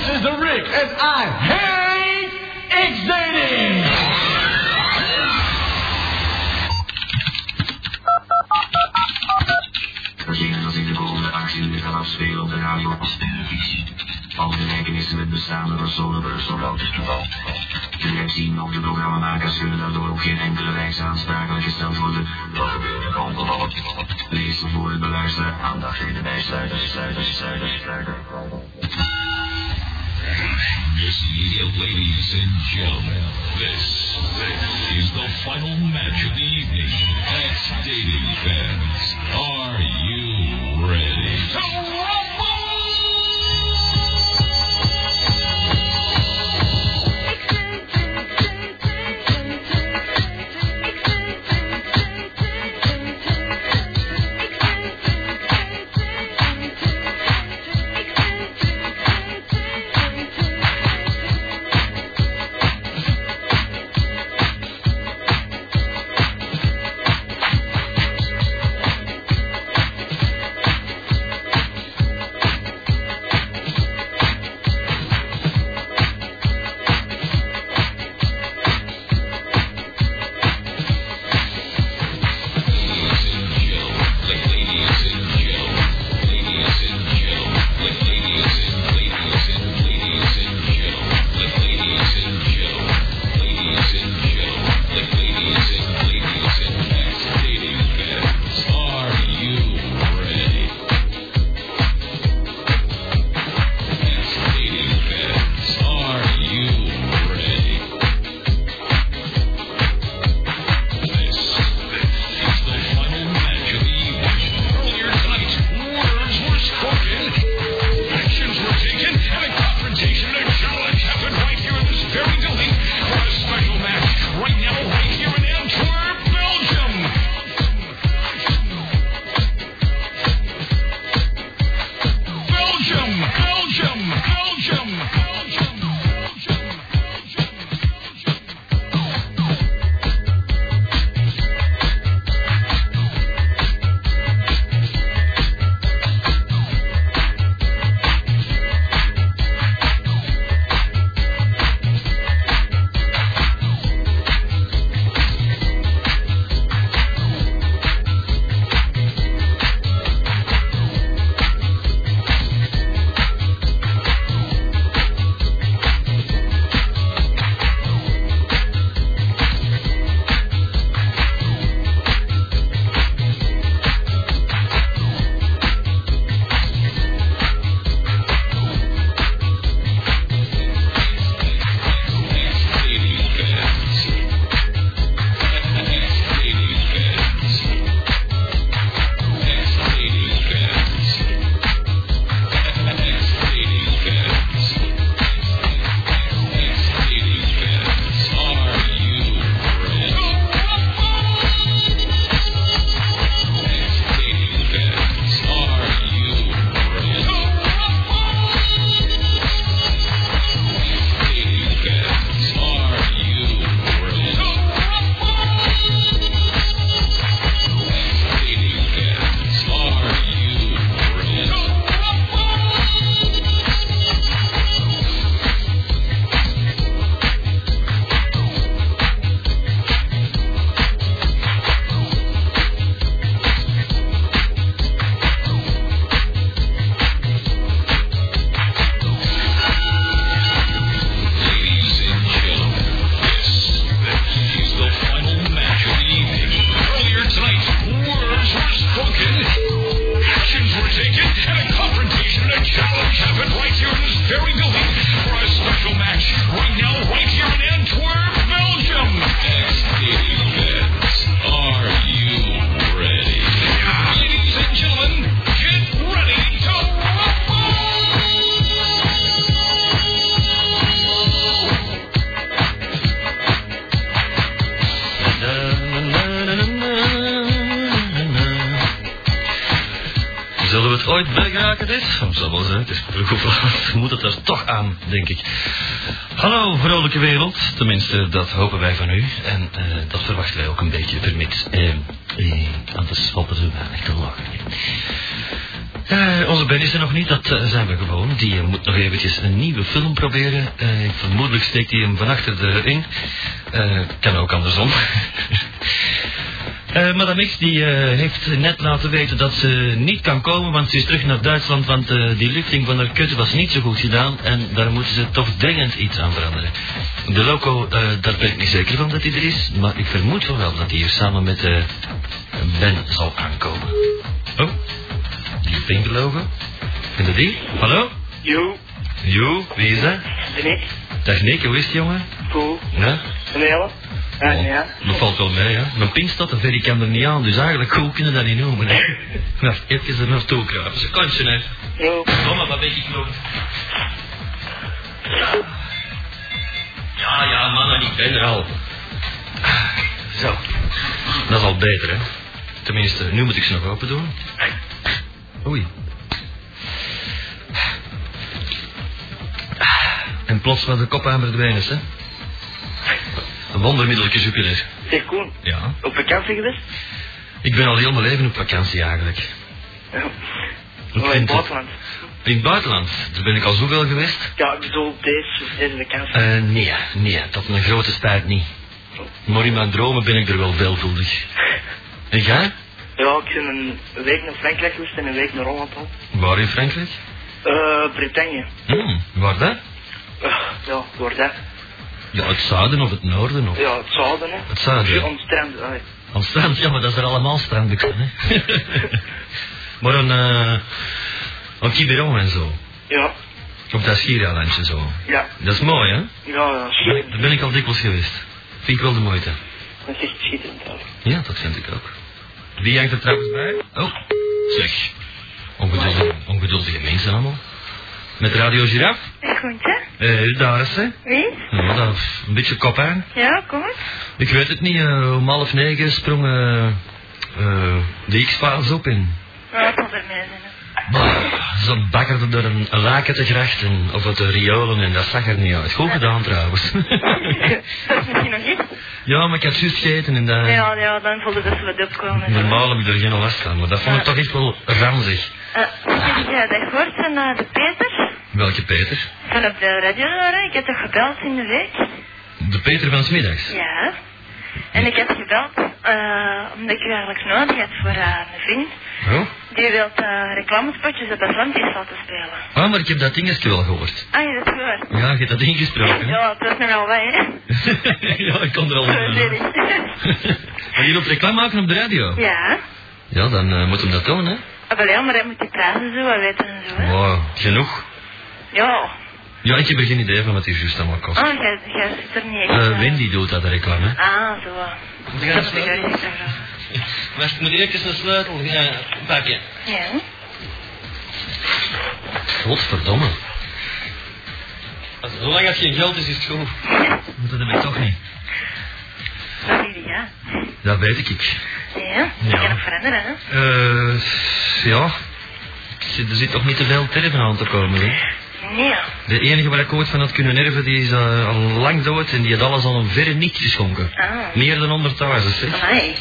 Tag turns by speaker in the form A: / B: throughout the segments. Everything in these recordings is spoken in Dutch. A: music, and I hate exiting.
B: Verzekerd dat ik de volgende actie kan afspelen op de radio of televisie. Al gelijkenissen met bestaande personenbeurs of autostoeval. Directie of de programmamakers kunnen daardoor op geen enkele wijze aansprakelijk gesteld worden. Wat gebeurt er ongevallen? Lees voor het beluisteren aandacht in de bijsluiter, sluiter, sluiter, sluiter.
C: Ladies and gentlemen, this, this is the final match of the evening. Ex dating fans, are you ready?
D: Zullen we het ooit bijraken dit? Soms zal wel zijn, het is vroeg of laat. We moeten het er toch aan, denk ik. Hallo, vrolijke wereld. Tenminste, dat hopen wij van u. En eh, dat verwachten wij ook een beetje,
E: Ehm,
D: vermits. Eh, eh, anders valt er zo weinig te lachen. Eh, onze
E: oude Ben is er nog niet, dat eh, zijn we gewoon. Die eh, moet nog eventjes een nieuwe film proberen. Eh, vermoedelijk steekt hij hem van achter de in. Eh, kan ook andersom. Eh Madame X die, eh, heeft net laten weten dat ze niet kan komen, want ze is terug naar Duitsland, want eh, die lifting van haar kut was niet zo goed gedaan en daar moeten ze toch dringend iets aan veranderen. De loco, eh, daar ben ik niet zeker van dat hij er is, maar ik vermoed van wel dat hij hier samen met eh, Ben zal aankomen. Oh, die pinke logo. Vind je die? Hallo?
F: Jo,
E: Jo, wie is dat?
F: ben ik.
E: Dag Nick, hoe is het jongen? Nou?
F: Cool.
E: Ja?
F: En Jelle? Ja, Eh,
E: Oh.
F: ja.
E: Dat valt wel mee, hè. Mijn pink staat er ver, ik kan er niet aan, dus eigenlijk cool kunnen dat niet noemen, hè. Nou, even er naartoe kruipen. Ze kantje, hè.
F: Jo.
E: Mama, wat ben je knokt? Ja, ja, mannen, ik ben er al. Zo. Dat is al beter, hè. Tenminste, nu moet ik ze nog open doen. Oei. En plots was de kop aan verdwenen, hè. Een wondermiddeltje zoeken, hè.
F: Zeg Koen,
E: Ja.
F: op vakantie geweest?
E: Ik ben al heel mijn leven op vakantie eigenlijk.
F: Ja.
E: Ik
F: Oh, in het
E: vind het-
F: buitenland.
E: In het buitenland, daar ben ik al zoveel geweest.
F: Ja, ik bedoel, deze, deze vakantie.
E: Eh, nee, nee, tot mijn grote spijt niet. Maar in mijn dromen ben ik er wel veelvuldig. En jij?
F: Ja, ik ben een week naar Frankrijk geweest en een week naar Holland al.
E: Waar in Frankrijk?
F: Eh, Bretagne.
E: Hmm, waar dan?
F: Eh, ja, door dat.
E: Ja, het zuiden of het noorden of...
F: Ja, het zouden, hè. eh,
E: Het zuiden.
F: Ja, om het strand, allee.
E: Aan strand, ja, maar dat is er allemaal stranden van, hè. maar een... eh een Quiberon en zo.
F: Ja,
E: Op dat schiereilandje zo.
F: ja.
E: Dat is mooi, hè?
F: Ja, ja,
E: Daar ben ik-
F: schitterend.
E: Daar ben ik al dikwijls geweest. Vind ik wel de moeite.
F: Dat is echt schitterend, allee.
E: Ja, dat vind ik ook. Wie hangt er trouwens bij? Oh, zeg. Ongeduldige, ongeduldige mensen allemaal. Met Radio Giraf?
G: Groentje?
E: Eh, daar is ze.
G: Wie?
E: Nou, dat is een beetje kop aan.
G: Ja, kom eens.
E: Ik weet het niet, eh, om half negen sprong eh, eh, de X-Files op in.
G: Ja, dat zal er mij zijn. hè.
E: Bah, Ze bakkerden door een laken te grachten, of uit de riolen, en dat zag er niet uit. Goed gedaan trouwens.
G: Dat is misschien nog iets.
E: ja, maar ik had juist gegeten en dat...
G: Ja, ja, dan zal er dus wat opkomen.
E: Normaal heb ik er geen last van, maar dat vond ik toch echt wel ranzig.
G: Eh, ja, dat hoort van eh, de Peter.
E: Welke Peter?
G: Van op de radio, horen. Ik heb toch gebeld in de week?
E: De Peter van Smiddags.
G: Ja. En ik heb gebeld eh, omdat ik u eigenlijk nodig heb voor eh, een vriend.
E: Oh?
G: Die wil eh, reclamespotjes op Atlantis laten spelen.
E: Ah, maar ik heb dat dingetje wel gehoord.
G: Ah, je hebt het gehoord?
E: Ja, je hebt dat ingesproken. hè?
G: Ja, dat is nogal wat, hè?
E: ja, ik kon er al
G: Zo,
E: aan.
G: zeg ik.
E: eh, Maar je op reclame maken op de radio?
G: Ja.
E: Ja, dan eh, moet hem dat doen, hè?
G: Ah, wel ja, maar hij moet die prijzen zo wat weten en zo, hè?
E: Wow, genoeg.
G: Ja.
E: Ja, ik heb er geen idee van wat hier juist allemaal kost.
G: Oh, jij, jij zit er niet echt...
E: Eh,
G: eh.
E: Wendy doet dat de reclame.
G: Ah, zo.
E: Moet ik gaan
G: Dat begrijp ik toch wel.
E: Maar ik moet eerst een sleutel gaan pakken.
G: Ja.
E: Godverdomme. Zolang het geen geld is, is het goed. Dat heb ik toch niet.
G: Dat zie je, ja.
E: Dat weet ik.
G: Ja, dat
E: Ja.
G: kan nog veranderen, hè.
E: Eh, ja. Zit- Er zit toch niet te veel terven aan te komen, hè?
G: Nee.
E: De enige waar ik ooit van had kunnen erven, die is eh, al lang dood en die had alles al een verre niet geschonken.
G: Ah.
E: Meer dan 100.000, zeg.
G: Amai.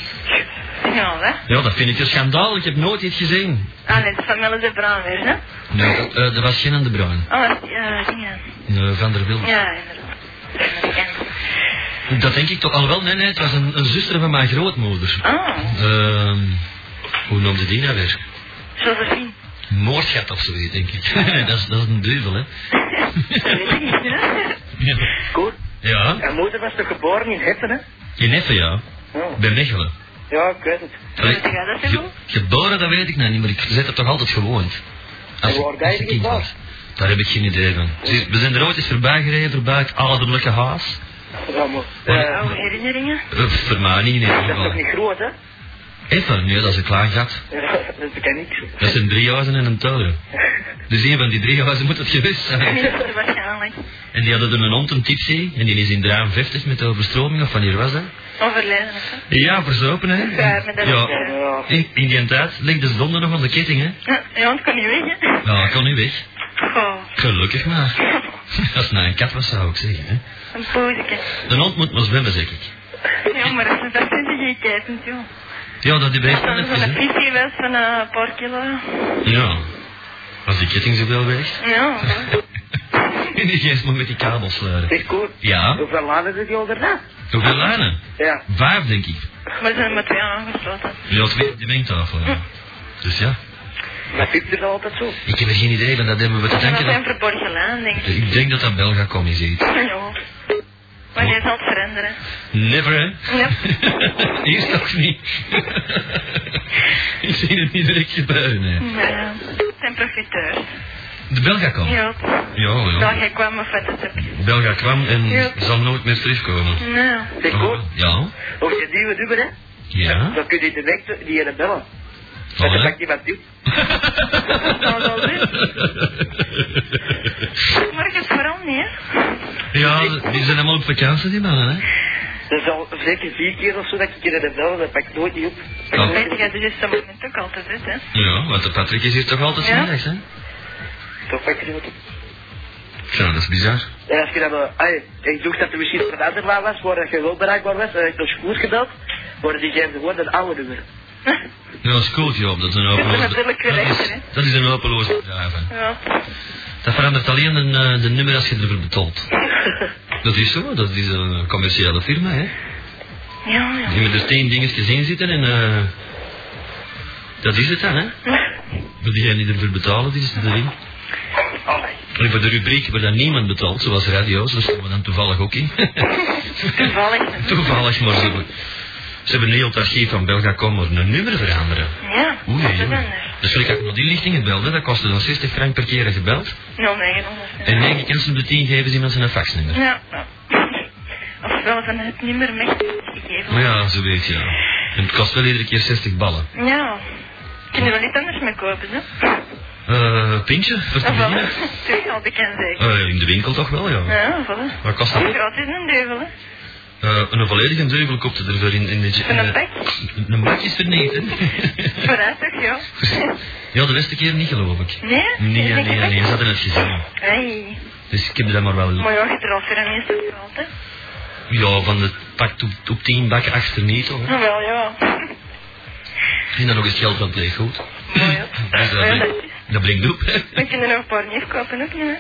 G: Ja, hè.
E: Ja, dat vind ik een schandaal. Ik heb nooit iets gezien.
G: Ah, nee, dat is van Melle de Bruin weer, hè.
E: Nee, eh, er was geen aan de bruin.
G: Oh, dat is die, eh, dingen.
E: Nee, van der Wilde.
G: Ja, inderdaad. Dat is Amerikaan.
E: Dat denk ik toch al wel. Nee, nee, het was een, een zuster van mijn grootmoeder.
G: Oh,
E: Ehm, hoe noemde die nou weer?
G: Josephine.
E: Moordgat of zoiets, denk ik. dat, is, dat is een duivel, hè?
G: Dat weet ik niet, hè.
E: Ja.
F: Koen,
E: Ja,
F: mijn moeder was toch geboren in Hetten, hè?
E: in Effen, ja.
F: Ja.
E: Bij Mechelen.
F: Ja, ik weet het.
E: Allee,
G: Weet jij dat,
E: ge-
G: Simon?
E: geboren, dat weet ik nou niet, maar ik zit er toch altijd gewoond.
F: En waar ben je
E: ik kind
F: geboren?
E: was. Daar heb ik geen idee van. Zie, We zijn er ooit eens voorbij gereden, voorbij het ouderlijke huis.
F: Ja, maar... eh,
G: Oude Oh, herinneringen.
E: Eh, Voor mij niet in ieder
F: dat is toch
E: geval.
F: niet groot, hè?
E: Even, nee, dat is een klein gat.
F: Ja, dat kan ik.
E: Dat zijn drie huizen en een toren. Dus een van die drie huizen moet het geweest zijn.
G: Minister waarschijnlijk.
E: En die hadden er een hond, een tipsy, en die is in 53 met de overstroming, of wanneer was dat?
G: Overleden of zo.
E: Ja, verzopen, hè?
G: Ja, maar dat is,
E: Ja.
G: eh,
F: Ja,
E: In, in die tijd legde ze donder nog aan de ketting, hè?
G: Ja, ja, het kan niet weg, hè.
E: Nou, ik kon niet weg.
G: Goh,
E: Gelukkig maar. Als het nou een kat was, zou ik zeggen, hè?
G: een poosje.
E: Een hond moet maar zwemmen, zeg ik.
G: Ja, maar dat is dat vind ik geen kijkend, joh.
E: Ja, dat die
G: Dat
E: beest wel
G: is
E: even,
G: zo'n
E: hè?
G: visie geweest van eh, een paar kilo.
E: Ja. Was die ketting zo wel weg?
G: Ja, hoor.
E: En die geeft me met die kabels sleuren.
H: Zeg, Koert.
E: Ja?
H: Hoeveel laden zit je onderna?
E: Hoeveel lijnen?
H: Ja.
E: Vijf, denk ik.
G: maar er zijn er maar twee aangesloten.
E: Ja, twee op die mengtafel, ja. Dus ja.
H: Dat piept er altijd zo.
E: Ik heb er geen idee, maar dat hebben we te
G: Maar dat
E: denken.
G: zijn
E: Dat...
G: verborgen laan, denk ik.
E: Ik denk dat dat Belga commis heet.
G: Ja. Maar jij zal het veranderen.
E: Never, hè?
G: Ja.
E: Eerst nog niet. ik zie het niet direct gebeuren, hè.
G: Ja. Het zijn profiteurs.
E: De Belga kwam.
G: Ja.
E: Ja,
G: Nou,
E: ja.
G: jij kwam me vet het heb.
E: Belga kwam en
G: Ja.
E: zal nooit meer terugkomen. Oh,
G: Nou.
H: Zeg, Koert.
E: Ja?
H: Of je duwen duwen, hè?
E: Ja?
H: Dan kun je de weg die ene bellen.
E: Zal,
H: en dan
E: hè?
H: pak je wat diep.
G: Zou dat Morgen is vooral niet, hè?
E: Ja, die zijn allemaal op vakantie, die mannen, hè.
H: Dat is al zeker vier keer of zo dat ik je de bellen, dat pak ik nooit niet op.
E: Ja.
G: Dat weet jij, dus is dat moment ook altijd uit, hè?
E: Ja, want de Patrick is hier toch altijd
G: Ja.
E: smiddags, hè?
H: Dan pak je nooit op.
E: Ja, dat is bizar.
H: En als je dan, eh, ai, ik dacht dat er misschien een ander waar was, waar dat je wel bereikbaar was, en dan heb ik nog school gebeld, maar die geven gewoon een oude nummer.
E: Ja, dat is cool, joh. Dat is een
G: is
E: openloos...
G: natuurlijk weer
E: dat, is,
G: rechter,
E: dat is een openloos bedrijf, hè.
G: Ja.
E: Dat verandert alleen de, eh, de nummer als je ervoor betaalt. Dat is zo, dat is een commerciële firma, hè.
G: Ja, ja.
E: Die met de tien dingetjes in zitten en... eh, dat is het dan, hè. Maar diegenen die ervoor betalen, die zitten erin.
H: Allee.
E: En voor de rubriek waar dan niemand betaalt, zoals radio's, daar staan we dan toevallig ook in.
G: Toevallig. hè.
E: toevallig, maar ze hebben, ze hebben een heel het archief van Belgacom maar een nummer veranderen.
G: Ja,
E: Oei,
G: dat is
E: oei.
G: anders.
E: Dus wil ik ook nog die lichtingen belden, dat kostte dan 60 frank per keer gebeld.
G: 0900. hè.
E: En 9 kansen op de 10 geven ze iemand zijn faxnummer.
G: Ja. ja. Ofwel van het niet meer meegegeven.
E: Maar ja, zo weet je. ja. En het kost wel iedere keer 60 ballen.
G: Ja. Kunnen we niet anders mee kopen, hè? Ah,
E: Eh, pintje, voor te
G: Ofwel,
E: beginnen?
G: natuurlijk al bekend zeker.
E: Eh, in de winkel toch wel, ja.
G: Ja, voilà.
E: Wat kost dat?
G: Hoe groot is een duivel, hè?
E: Eh, een volledige deuvel kopte er voor in, in de...
G: Van een
E: eh,
G: pak?
E: Een pak is vernieten.
G: Vooruit toch, ja?
E: ja, de beste keer niet, geloof ik.
G: Nee?
E: Nee,
G: Is
E: nee,
G: dat
E: nee,
G: gek?
E: nee, ze hadden het gezien.
G: Hey.
E: Dus ik heb dat maar wel...
G: Maar ja, je draagt er aan meestal geld, hè?
E: Ja, van de pak op, op 10 bakken achter niet, hoor.
G: Nou, wel, ja.
E: En dan nog eens geld van het leeggoed.
G: Mooi, hè?
E: Dus dat,
G: Ja,
E: brengt,
G: dat is.
E: dat brengt op. hè.
G: We kunnen nog een paar neef kopen, ook niet,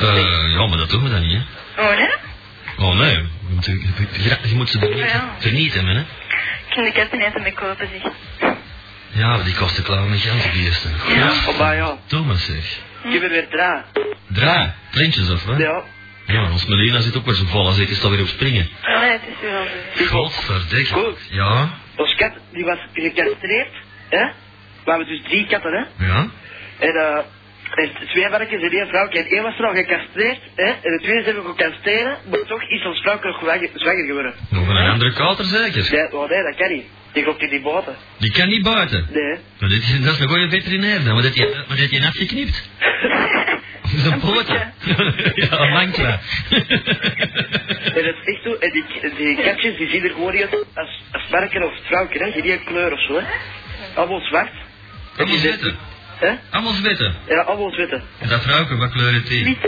G: hè?
E: Eh, ja, maar dat doen we dan niet, hè.
G: Oh, nee?
E: Oh nee, je moet, je- je moet ze er niet,
G: Ja.
E: er niet hebben, hè.
G: Ik kan de katten eten mee kopen, zeg.
E: Ja, maar die kosten klauwen met geld, die eerste.
H: Ja. Oh, maar ja.
E: Thomas, zeg.
H: Ik heb er weer draai.
E: Dra, plintjes of wat?
H: Ja.
E: Ja, maar ons Melina zit ook weer zo vol als ik is dan weer op springen.
G: Nee, het is wel zo.
E: Godverdikke.
H: Goed.
E: Ja,
H: Ons kat, die was gecastreerd, hè? We hebben dus drie katten, hè?
E: ja.
H: En, eh, en twee mannetjes en één vrouwtje. En één was er al gecastreerd, hè? En de tweede zijn we gaan casteren, maar toch is ons vrouwtje nog zwanger zwanger geworden.
E: Nog een andere kater zeker.
H: Nee, oh nee, dat kan niet. Die komt in die boten.
E: Die kan niet buiten.
H: Nee, hè.
E: Maar dit is- Dat is een goede veterinair dan, wat heeft je, wat heeft je afgeknipt? Zo'n
G: Een
E: pootje. Ja, een mankla.
H: En het is echt zo, en die, die katjes die zien er gewoon niet uit als, als mannetje of vrouwtje, hè? Geen één kleur of zo, hè? Allemaal zwart. En
E: Allemaal
H: die zijn-
E: witte.
H: Hè?
E: Allemaal witte.
H: Ja, allemaal witte.
E: En dat vrouwke, wat kleur heeft die?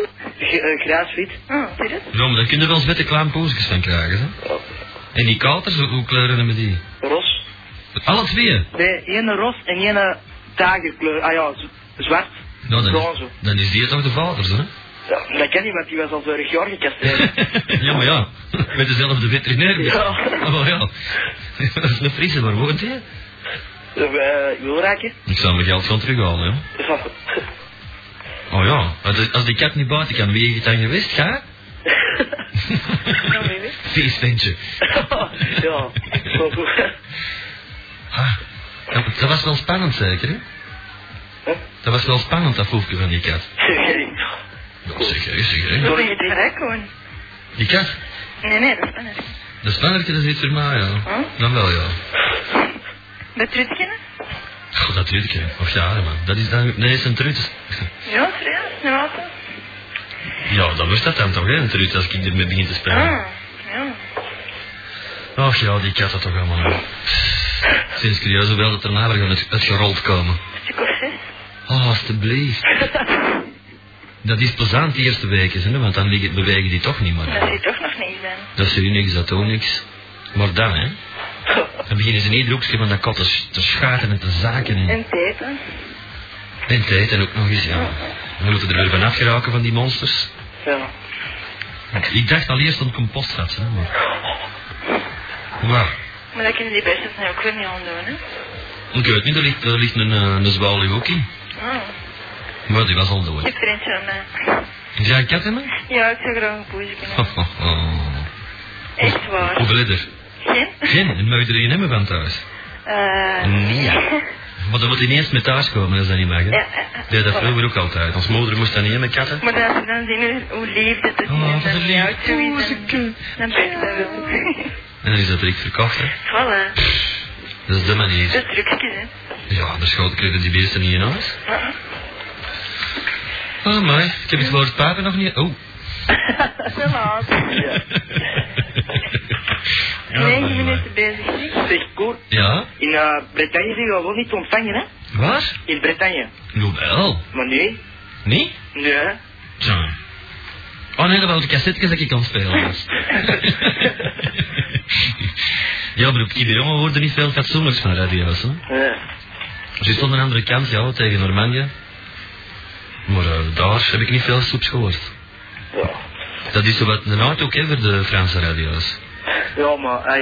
H: G- eh, Graaswit.
G: Oh, zie je dat?
E: Ja, Nou, maar daar kunnen we wel eens witte klaanpoosjes van krijgen, hè.
H: Oh,
E: En die katers, hoe- hoe kleuren hebben die?
H: Ros.
E: Alle twee?
H: Nee, één roos en één dagenkleur. Ah ja, z- zwart.
E: Nou, dan is,
H: Roze.
E: dan is die toch de vaders, hè?
H: Ja, dat ken je, want die was al vorig jaar gecastreerd.
E: ja, maar ja. Met dezelfde veterinair.
H: Ja.
E: Ah, Maar ja. Dat is een Friese, waar woont hij?
H: uh, wil raken?
E: Ik zou mijn geld gaan terughalen, ja. Oh ja, als- als die kat niet buiten kan, wie heeft het dan geweest? Ga?
G: Ja, Nou, weet je.
E: Vies ventje.
H: ja, zo goed.
E: Ah, dat, dat was wel spannend zeker, hè?
H: Huh?
E: Dat was wel spannend, dat voelkje van die kat. Ja, zeg hè, zeg hè.
G: Sorry, je trekt gewoon.
E: Die kat,
G: Nee, nee, dat is anders.
E: dat spannertje, dat is iets voor mij, ja.
G: Huh?
E: Dan wel, ja.
G: Dat trutkennen?
E: Goh, dat weet ik, hè. Och ja, hè, man. Dat is dan... Nee, is een trut.
G: Ja, serieus? Nou, wat? dan?
E: Ja, dan wordt dat dan toch, hè, een trut, als ik ermee begin te spelen.
G: Ah, ja.
E: Och ja, die kat had toch allemaal.
G: Ah.
E: hè. Sinds curieus wel dat er nader gaan uit- uitgerold komen.
G: Een stuk of zes.
E: Oh, alstublieft. Dat is plezant de eerste weken, hè, want dan liggen- bewegen die toch niet meer.
G: Dat zit toch nog niet zijn.
E: Dat zie je niks, dat ook niks. Maar dan, hè. Hm. Dan beginnen ze niet hoekje van dat kat te, sch- te schaten en te zaken. En...
G: En teten.
E: En tijd en ook nog eens, ja. We moeten er weer van afgeraken van die monsters.
H: Ja.
E: Ik dacht al eerst aan compostgat, hè, maar... Maar,
I: Maar dat kunnen die beestjes nou ook weer niet aan doen, hè?
E: ik weet niet, er ligt, er ligt een, eh, een zwaluw ook in.
I: Oh,
E: Maar die was al
I: ik
E: dood.
I: heb er eentje aan mij.
E: Is jij een kat in me?
I: Ja, ik zou graag een poesje kunnen.
E: Oh, oh, oh.
I: Echt waar.
E: Hoeveel is er?
I: Geen?
E: Geen, en moet je er een hebben van thuis.
I: Eh.
E: Nee, ja.
I: Ja,
E: Maar dan moet ineens met thuis komen als dat niet mag, hè?
I: ja, ja.
E: Deed dat vroeger ook altijd. Ons moeder moest dan niet hè, met katten.
I: Maar als ze dan zien hoe- hoe lief dat is
E: Oh,
I: en
E: wat
I: dan
E: een
I: jou
E: lief
I: toe is,
E: poesje.
I: dan, dan ben ik dat wel.
E: En dan is dat direct verkocht, hè?
I: voilà,
E: Dat is de
I: dat
E: manier.
I: is trucjes, hè. Ah,
E: Ja, daar schoot kregen die beesten niet in huis.
I: Ja.
E: Oh, mooi. Ik heb het woord papen nog niet... Oh.
I: Te laat.
E: Ja,
I: Negen
E: mooi.
I: minuten bezig, niet?
H: Zeg, Koen,
E: Ja?
H: in eh, Bretagne zijn we wel niet te ontvangen, hè?
E: Waar?
H: In Bretagne.
E: Jawel.
H: Maar nu?
E: Nee?
H: Nu, hè?
E: Zo. Oh nee, dat waren de cassettes dat ik kan spelen was. ja, maar op Kiberongen hoorden niet veel fatsoenlijks van radio's, hè?
H: Ja.
E: Ze stond aan de andere kant, ja, tegen Normandië. Maar eh, daar heb ik niet veel soeps gehoord.
H: Ja.
E: Dat is zo wat een auto ook hè, voor de Franse radio's.
H: Ja, maar ey,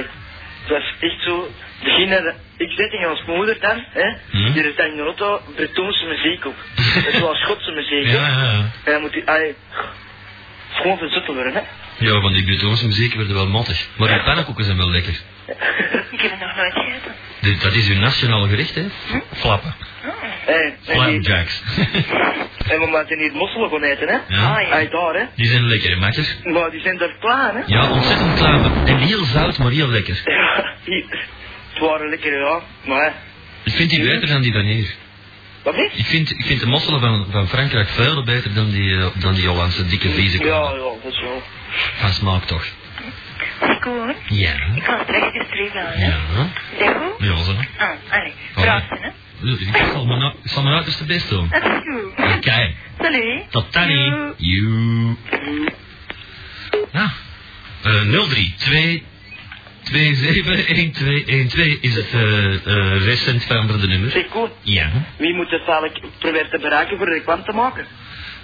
H: het was echt zo. Begin dat ik zit in ons moeder dan, hè?
E: Hm?
H: Die zet in de auto Bretonse muziek op. Het was Schotse muziek. hè.
E: ja.
H: En dan moet hij. ey, het is gewoon verzoeten worden, hè?
E: Ja, van die Bretonse muziek werden wel mattig. Maar die pannenkoeken zijn wel lekker.
I: Ik heb het nog nooit gegeten.
E: Dit- dat is hun nationale gerecht, hè? Flappen.
H: Ey, en, die,
E: Flapjacks.
H: en we moeten hier mosselen gaan eten, hè?
E: ja.
I: Ah, ja.
H: Ey, daar, hè?
E: Die zijn lekker, hè, makker.
H: Maar die zijn daar klaar, hè?
E: Ja, ontzettend klaar. En heel zout, maar heel lekker.
H: Ja, die- het waren lekker, ja. Maar, hè,
E: Ik vind die beter dan die van hier.
H: wat is?
E: Ik vind, ik vind de mosselen van, van Frankrijk veel beter dan die, eh, dan die Hollandse dikke vieze
H: Ja,
E: kwamen.
H: ja, dat is wel.
E: Van smaak toch?
I: Koen,
E: Ja.
I: ik ga straks de streep halen, hè.
E: Ja.
I: Is dat goed?
E: Ja, zo.
I: Ah, allee.
E: Oh.
I: Praten, hè.
E: Ik zal mijn, ik zal mijn uiterste best doen.
G: Ah,
I: Dat is goed.
E: Oké,
I: Salut.
E: tot dan. You. Ja. Eh 032 271212 is het eh, eh, recent veranderde nummer.
H: Zeg, Koen,
E: Ja.
H: wie moet het dadelijk proberen te bereiken voor reclame te maken?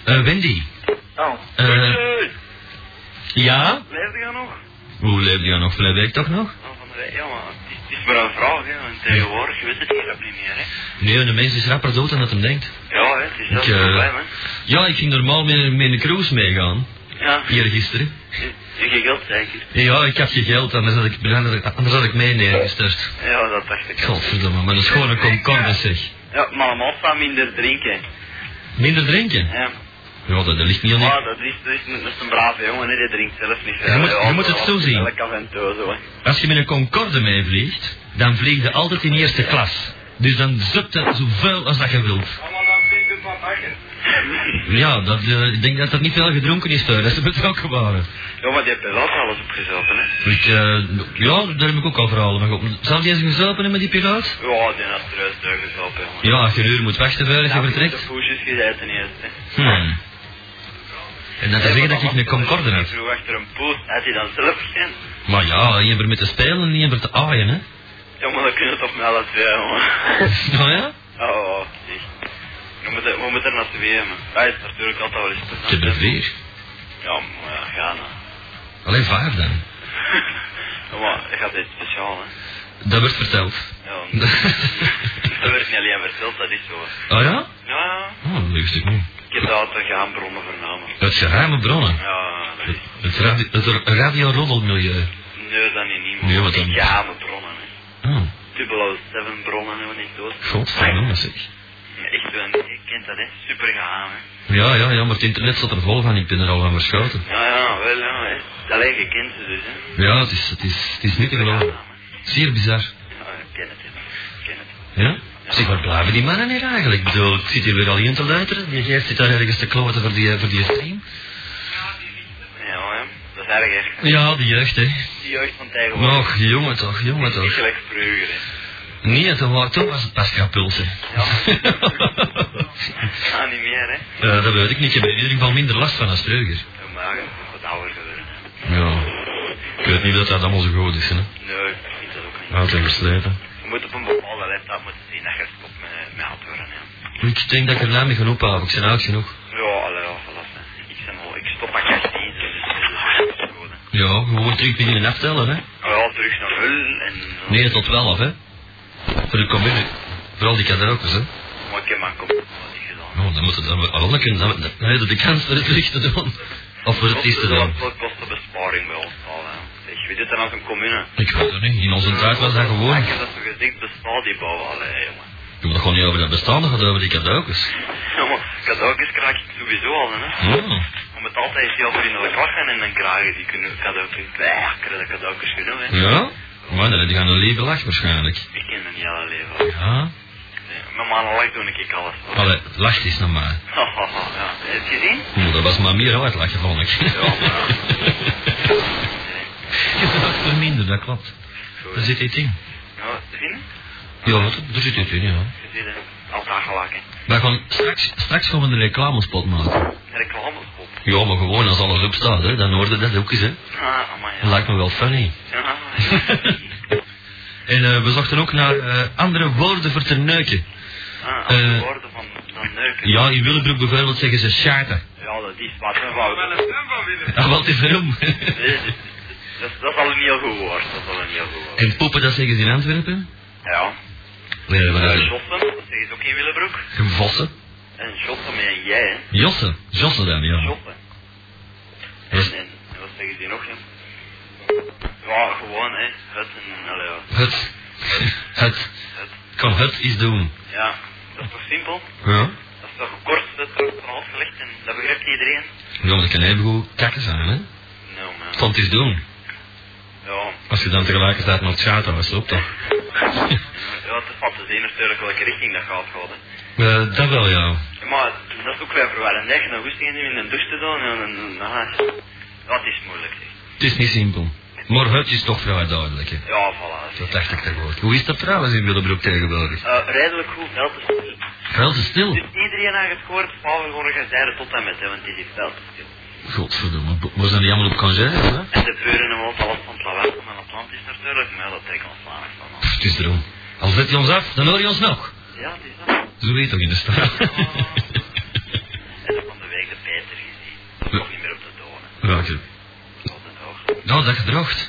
E: Eh, Wendy.
H: Oh.
E: Eh, ja?
H: Leef je nog? Oh,
E: Hoe leef je nog? Verleden week toch nog?
H: Ja, maar het is maar een vraag, hè. Want tegenwoordig, je weet het niet, dat niet meer, hè.
E: Nee, de mens is rapper dood dan dat hem denkt.
H: Ja, hè, het is
E: Ik,
H: dat het
E: eh,
H: probleem, hè.
E: Ja, ik ging normaal met, met een cruise meegaan.
H: Ja,
E: Hier gisteren.
H: je, je geld zeker.
E: Ja, ik heb geen geld, anders had ik, anders had ik mij neergestort.
H: Ja, dat dacht ik.
E: Godverdomme, maar een schone komkommer zeg.
H: Ja, maar een massa minder drinken,
E: Minder drinken?
H: ja.
E: Ja, dat, dat ligt niet aan
H: Maar
E: ik.
H: dat is, dat is, dat is een brave jongen, hè. Die drinkt zelf niet
E: Je moet- je moet het zo zien.
H: Elke af en toe, zo, hè.
E: Als je met een Concorde meevliegt, dan vlieg je altijd in eerste klas. Dus dan zupt het zoveel als dat je wilt. Ja, dat, eh, ik denk dat er niet veel gedronken is daar, dat ze betrokken waren.
H: Ja, maar die hebben wel alles opgezopen, hè.
E: Ik, eh, ja, daar heb ik ook al verhalen van gehoord. Zal die eens gezopen hebben, die piloot?
H: Ja, die had er juist doorgezopen, jongen.
E: Ja, als je een uur moet wachten voordat je
H: Ja, Ik heb
E: vertrekt.
H: de poesjes gezeten eerst, hè.
E: Hmm. En dan te zeggen dat ik een Concorde
H: Ik
E: heb.
H: vroeg achter een poes, had hij dan zelf geen?
E: Maar ja, één voor met te spelen en één voor te aaien, hè.
H: Ja, maar dat kunnen we toch met alle twee, jongen.
E: Nou ja?
H: Oh, oh, echt. We moeten, we moeten er naar twee, man. Hij is natuurlijk altijd wel eens
E: Ik heb er
H: plezant. hè.
E: vier.
H: Ja, maar ja, ga nou.
E: Alleen vijf dan.
H: Ja, maar dat gaat dit speciaal, hè.
E: Dat wordt verteld.
H: Ja, dat werd niet alleen verteld, dat is zo.
E: oh ja?
H: Ja, ja.
E: Oh, dat wist ik niet.
H: Ik heb daar altijd gehaambronnen vernomen.
E: Het geheime bronnen.
H: Ja, dat is...
E: Het, radio, het radioroddelmilieu.
H: Nee, dat niet, niet.
E: Nee, wat dan?
H: Geheime bronnen, hè.
E: Oh,
H: 007 bronnen hebben we niet dood.
E: godverdomme zeg.
H: Echt, een- je kent dat, hè. Super geheim, hè.
E: Ja, ja, ja, maar het internet zat er vol van. Ik ben er al van verschoten.
H: Ja, ja, wel, ja, hè. Alleen je kent ze dus, hè.
E: Ja, het is, het is, het is niet te geloven.
H: Supergeheim, hè.
E: Zeer bizar.
H: Ja, ik ken het, hè. Ik ken het.
E: Ja? Zeg, waar blijven die mannen hier eigenlijk? Ik bedoel, ik zit hier weer al in te luisteren. Die geeft zit daar ergens te kloten voor die, eh, voor die stream.
H: Ja, hè. Dat is erg, hè.
E: Ja, die jeugd, hè.
H: Die jeugd van tegenwoordig.
E: Och, jongen toch, jongen
H: Niet
E: toch.
H: gelijk vroeger, hè.
E: Nee, toen, wa- toen was het pas kapulsen.
H: Ja, niet meer, hè.
E: Ja, dat Eh, weet ik niet. Ik heb er in ieder geval minder last van als vroeger.
H: Ja, maar je moet wat ouder geworden. hè.
E: Ja. Ik weet niet dat dat allemaal zo goed is, hè.
H: Nee, ik vind dat ook niet.
E: Oud en versleten.
H: Je moet op een bepaalde leeftijd moeten zien dat je stopt met, met hardwaren, ja.
E: Ik denk dat ik er na mee genoeg heb. Ik ben oud genoeg.
H: Ja, allee, ja, voilà. hè. Ik, ben al, ik stop aan 18, dus eh, dat is goed, hè.
E: Ja, gewoon terug beginnen aftellen, hè.
H: Ja, terug naar nul en... eh,
E: Nee, tot wel af, hè. Voor de commune. Vooral die kadarokkers, hè.
H: Maar ik heb mijn kop nog niet gedaan.
E: Oh, dan moet het dan wel dan kunnen. Dan dan hebben we de kans voor het terug te doen. Of voor het eerst te doen.
H: Dat kost een besparing bij ons al, hè. Zeg, wie doet dat als een commune?
E: Ik weet het niet. In onze tijd was dat gewoon.
H: Ik heb dat zo gezegd, bestaat die bouw al, hè, jongen.
E: Je moet gewoon niet over dat bestaande gaan, over die kadarokkers.
H: Ja, maar cadeautjes krijg ik sowieso al, hè.
E: Ja.
H: Om het altijd heel vriendelijk lachen en dan krijgen die kunnen cadeautjes. Ja, ik krijg dat cadeautjes genoeg, hè.
E: Ja? Maar dan heb je aan een leven lach waarschijnlijk.
H: Ik ken mijn hele leven. al.
E: Ja?
H: Nee, Met mijn lach doe ik alles.
E: Allee, lach eens nog maar.
H: ja. Heb je gezien?
E: Nou, dat was maar meer hard lachen, vond ik.
H: Ja, maar-
E: Je er eh, minder, dat klopt. Daar zit iets in.
H: Ja, zien?
E: Ja, wat- daar zit iets in, ja.
H: Je ziet het. Altijd gelijk, hè.
E: Wij gaan straks, straks gaan we een reclamespot maken.
H: Reclamespot.
E: Ja, maar gewoon als alles opstaat, hè, dan hoorde dat ook eens, hè.
H: Ah, amai,
E: Dat
H: ja.
E: lijkt me wel funny.
H: Ja,
E: en eh, we zochten ook naar eh, andere woorden voor te neuken.
H: Ah, als de
E: Eh,
H: woorden van, van neuken.
E: Ja, in Willebroek bijvoorbeeld zeggen ze schaten.
H: Ja, dat is wat een fout.
E: Ah, wat is waarom?
H: Nee, Dat, is- dat is al een heel goed woord. Dat is al een heel goed woord.
E: en poepen, dat zeggen ze in Antwerpen?
H: Ja.
E: Nee, maar dat
H: Eh,
E: is-
H: Jossen, dat zeg je ook in Willebroek.
E: Vossen?
H: En Jossen met een jij, hè.
E: Jossen. Jossen dan, ja.
H: Jossen.
E: Yes.
H: En, en wat zeggen die nog, hè? Ja, gewoon, hè. Het en, allee, ja.
E: Het. Het.
H: Het.
E: Kan het iets doen.
H: Ja, dat is toch simpel?
E: Ja?
H: Dat is toch kort, dat wordt van alles gelegd en dat begrijpt iedereen?
E: Ja, maar dat kan even goed kakken zijn, hè.
H: Nou, man.
E: Het kan het iets doen.
H: Ja.
E: Als je dan tegelijkertijd nog schaten was, loopt dat.
H: Ja, het is wat te zien natuurlijk welke richting dat gaat gaan, hè.
E: Eh, dat wel, ja.
H: Ja, maar dat is ook weer verwarrend. Echt, een goesting in een douche te doen en een... nou, Dat is moeilijk, zeg.
E: Het is niet simpel. Maar het is toch vrij duidelijk, hè.
H: Ja, voilà.
E: Dat dacht ik tegenwoordig. Hoe is dat trouwens in Willebroek tegenwoordig?
H: Eh redelijk goed, veld is stil.
E: Wel te stil.
H: Dus iedereen aan gescoord, Pavelgorgen zei er tot en met, hè, want die is veld is stil.
E: Godverdomme, we zijn die allemaal op congé, hè?
H: En de buren hebben ook alles van het lawaai van het land is natuurlijk, maar ja, dat trekt ons weinig van aan.
E: Pff, het is erom. Al zet je ons af, dan hoor je ons nog.
H: Ja, het is dat.
E: Zo weet toch in de straat.
H: En dan van de week de Peter gezien. Dat is nog niet meer op de tonen.
E: Welke?
H: Op de hoogte.
E: Nou, dat gedroogd.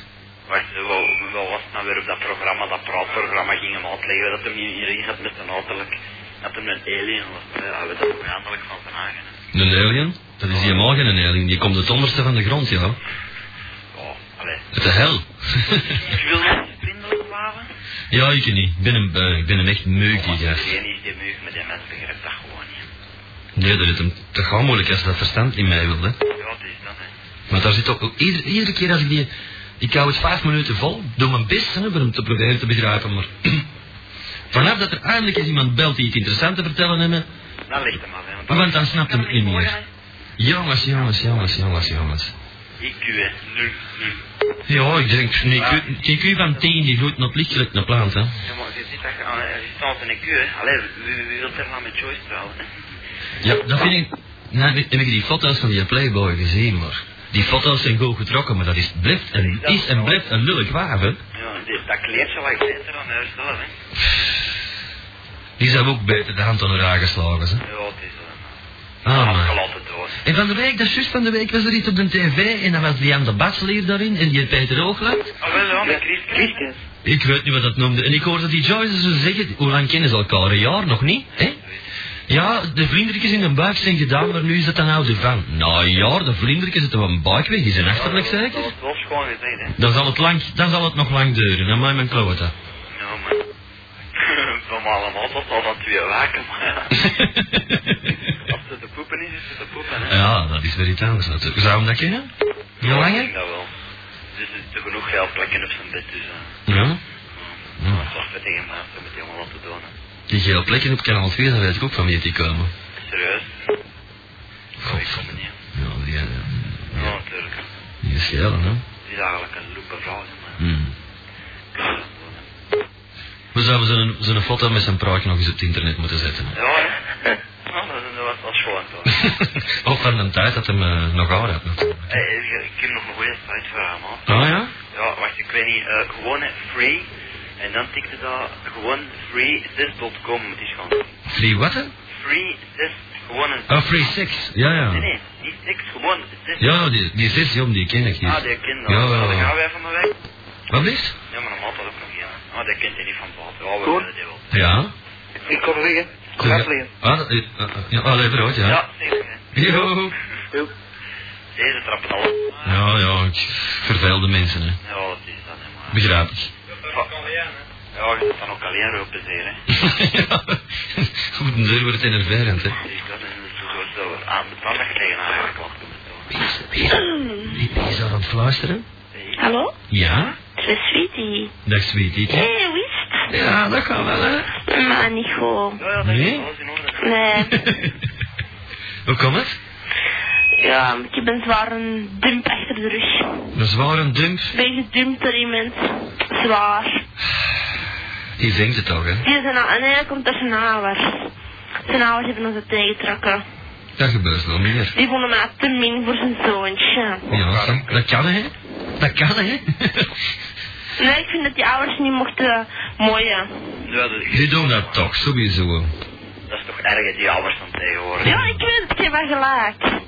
H: Wacht, eh, wel, wel was het nou weer op dat programma, dat praatprogramma ging hem uitleggen dat hem hier- hierin zat met een uiterlijk, dat hem een alien was. Maar ja, hij werd dat vijandelijk van zijn eigen. hè.
E: Een alien? Dat is helemaal geen alien, die komt het onderste van de grond, ja.
H: Ja, allee.
E: Uit de hel.
H: Ik wil niet vriendelijk blijven.
E: ja, ik niet. Ik ben een, eh, ik ben een echt meuk, die
H: Want
E: gast.
H: Iedereen is die meug met die mensen begrijpt dat gewoon niet.
E: Nee, dat is hem te gauw moeilijk als dat verstand in mij wil, hè.
H: Ja, het is dat, hè.
E: Maar daar zit ook... Iedere, iedere keer als ik die... Ik hou het vijf minuten vol. Doe mijn best hè, om hem te proberen te begrijpen, maar... Vanaf dat er eindelijk eens iemand belt die iets interessants te vertellen heeft...
H: Dat ligt hem af, hè. Want,
E: Want dan snapt hem
H: Kan niet
E: niet
H: worden,
E: meer. Jongens, jongens, jongens, jongens, jongens.
H: hè. IQ, hè. Nul, nul.
E: Ja, ik denk... Een IQ, een IQ van 10 die groeit nog lichtelijk naar plant, hè.
H: Ja, maar je ziet dat je aan je ziet aan een IQ, hè. Allee, wie, wie wil er nou met Joyce trouwen, hè?
E: Ja, dat vind ik... Nou, heb ik die foto's van die Playboy gezien, maar... Die foto's zijn goed getrokken, maar dat is, blijft en is en blijft een lullig waaf, hè.
H: Ja, die, dat kleedje wat ik zit er aan haar zelf, hè.
E: Die zou ook beter de hand aan haar geslagen, hè.
H: Ja, het is dat.
E: Ah, man.
H: Afgelaten dood.
E: En van de week, dat is juist van de week, was er iets op de tv en dan was die aan de Batsleer daarin en die Peter Oogland.
H: Ah, wel, ja, met Christus. Christus.
E: Ik weet niet wat dat noemde. En ik hoorde die Joyce zo zeggen, hoe lang kennen ze elkaar? Een jaar nog niet, hè? Ja, de vlindertjes in de buik zijn gedaan, maar nu is dat dan oude van. Nou ja, de vlindertjes zitten van buik weg, die zijn achterlijk
H: Dat
E: zeker?
H: was wel schoon gezegd, hè.
E: Dan zal het, lang, dan zal het nog lang duren, hè, mij mijn klote.
H: Ja, man. Van allemaal tot al dat twee waken, maar ja. Als het de poepen is, is het de poepen, hè.
E: ja, dat is weer iets anders natuurlijk. Zou hem dat kennen? Ja,
H: ik denk
E: langer?
H: dat wel. Dus er zitten genoeg geldplekken op zijn bed, dus... eh,
E: Ja.
H: Ja. Dat was met tegen maat, met die jongen wat te doen, hè.
E: Die geel plekken op kanaal 2, dan weet ik ook van wie die komen.
H: Serieus? Oh, ik kom er niet. aan.
E: Ja, die, eh,
H: Ja, natuurlijk.
E: die is geel, hè?
H: Het is eigenlijk een loepe vrouw, hè, maar...
E: Hmm. We zouden zijn, zijn foto met zijn praatje nog eens op het internet moeten zetten.
H: Ja, hè. Ja, dat, dat was wel schoon, toch.
E: Ook van de tijd dat hem eh, nog ouder had natuurlijk.
H: Hey, ik- ik heb nog een goede site voor haar, man.
E: Ah ja?
H: Ja, wacht, ik weet niet. eh, gewoon hè, free. eh, En dan tikte dat gewoon freezis.com moet je gaan.
E: Free wat? hè?
H: Freezis, gewoon een...
E: Oh, Free Six. Ja,
H: Nee,
E: ja.
H: nee, niet six, gewoon zis.
E: Ja, die, die zes, jong, die ken ik niet.
H: Ah, die kind
E: Ja,
H: dat.
E: wel.
H: Dan gaan wij van de weg.
E: Wat blieft?
H: Ja, maar normaal dat ook nog geen. Ah, dat kind die niet van water. Ja, we willen die wel.
E: Ja.
H: Ik kom liggen.
E: Ah, dat- eh, eh, ja, ah, dat brood, ja.
H: Ja, zeker. hè.
E: Jo.
H: Deze trappen al.
E: Ja, ja, ik verveelde mensen, hè.
H: Ja, dat is dat, hè, maar.
E: Begrijp ik.
H: Ja, je zit dan ook alleen roepen, zeer, hè.
E: ja, goed, dan wordt het enerverend, hè.
H: Dus dat is zo groot dat we aan de tandag tegen haar geklapt
E: Wie is, wie is, wie- wie is daar aan het fluisteren?
G: Hallo?
E: Ja?
G: Het is Sweetie.
E: Dag, sweetie.
G: Hé, hey, wist?
E: Ja, dat kan wel, hè.
G: Maar niet goed.
H: Ja, ja, dat
E: Nee?
H: is alles in orde.
G: Nee.
E: Hoe komt het?
G: Ja, ik heb een zware dump achter de rug.
E: Een zware dump.
G: Ben gedumpt door iemand. Zwaar.
E: Die zingt het toch, hè?
G: Die zijn al, nee, dat komt door zijn ouders. Zijn ouders hebben ons het tegengetrokken.
E: Dat gebeurt wel meer.
G: Die vonden mij te min voor zijn zoontje.
E: Ja, dat- dat kan, hè? Dat kan, hè?
G: Nee, ik vind dat die ouders niet mochten mooien.
H: Ja, dat is-
E: Die doen dat toch, sowieso.
H: Dat is toch erg, hè, die ouders van tegenwoordig.
G: Ja, ik weet het, ik heb wel gelijk.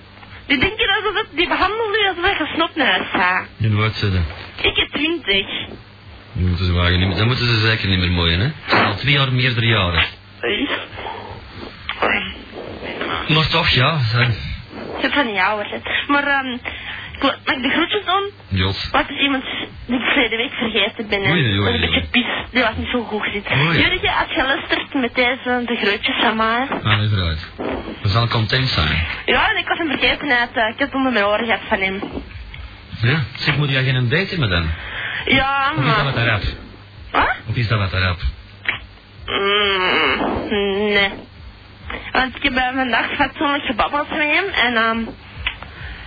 G: Die denken alsof het, die behandelen je alsof je gesnopneus bent.
E: In wat zitten.
G: Ik heb twintig.
E: Dan moeten ze wagen niet meer- dan moeten ze zeker niet meer mooien, hè? Al twee jaar meerdere jaren.
H: Dat is dat. Nee, maar-
E: Maar toch, ja. hè.
G: Ik heb van die ouders, hè. Maar, ehm, ik wil- mag ik de groetjes doen?
E: Jot.
G: Wat is iemand die ik verleden week vergeten ben. hè?
E: Oei, oei, oei.
G: Dat is Een beetje pis, die was niet zo goed gezien.
E: Oei.
G: Jurgen, als je luistert met deze de groetjes van mij.
E: Ah, nee, vooruit. We zal content zijn.
G: Ja, en ik was hem vergeten uit. eh, Ik heb het onder mijn oren gehad van hem.
E: Ja. Zeg, moet jij geen date hebben dan?
G: Ja,
E: Of is dat wat
G: maar...
E: Arab?
G: Wat?
E: Of is dat wat Arab?
G: Mm, nee. Want ik heb eh, vandaag fatsoenlijk gebabbeld met hem en ehm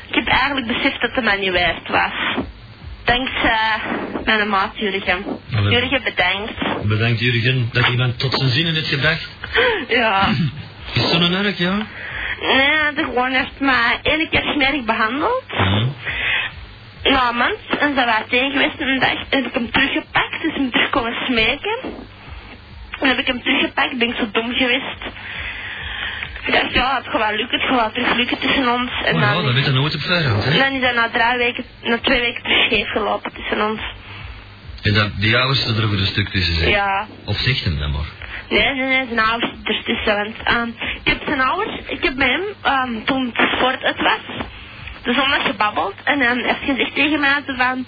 G: ik heb eigenlijk beseft dat het mij niet waard was. Dankzij mijn maat Jurgen.
E: Allee.
G: Jurgen bedankt.
E: Bedankt Jurgen dat iemand tot zijn zinnen heeft gebracht.
G: Ja.
E: Is zo'n erg, ja?
G: Nee, de gewoon heeft mij één keer smerig behandeld.
E: Ja.
G: Nou, man, en ze was tegen geweest en dag heb ik hem teruggepakt, dus hem terug komen smeken. En heb ik hem teruggepakt, ben ik zo dom geweest. Ik dacht, ja, het gaat wel lukken, het gaat wel terug lukken tussen ons. En
E: Oh, ja,
G: dan,
E: dat weet je nooit op voorhand, hè?
G: dan is dat na, drie weken, na twee weken terug scheef gelopen tussen ons.
E: En dan die ouders er voor een stuk tussen zijn.
G: Ja.
E: Of zegt hem dan maar.
G: Nee, nee, nee, zijn ouders ertussen. Want ehm, ik heb zijn ouders, ik heb met hem, ehm, toen het voor het uit was, de zondag gebabbeld. En hij heeft gezegd tegen mij zo van,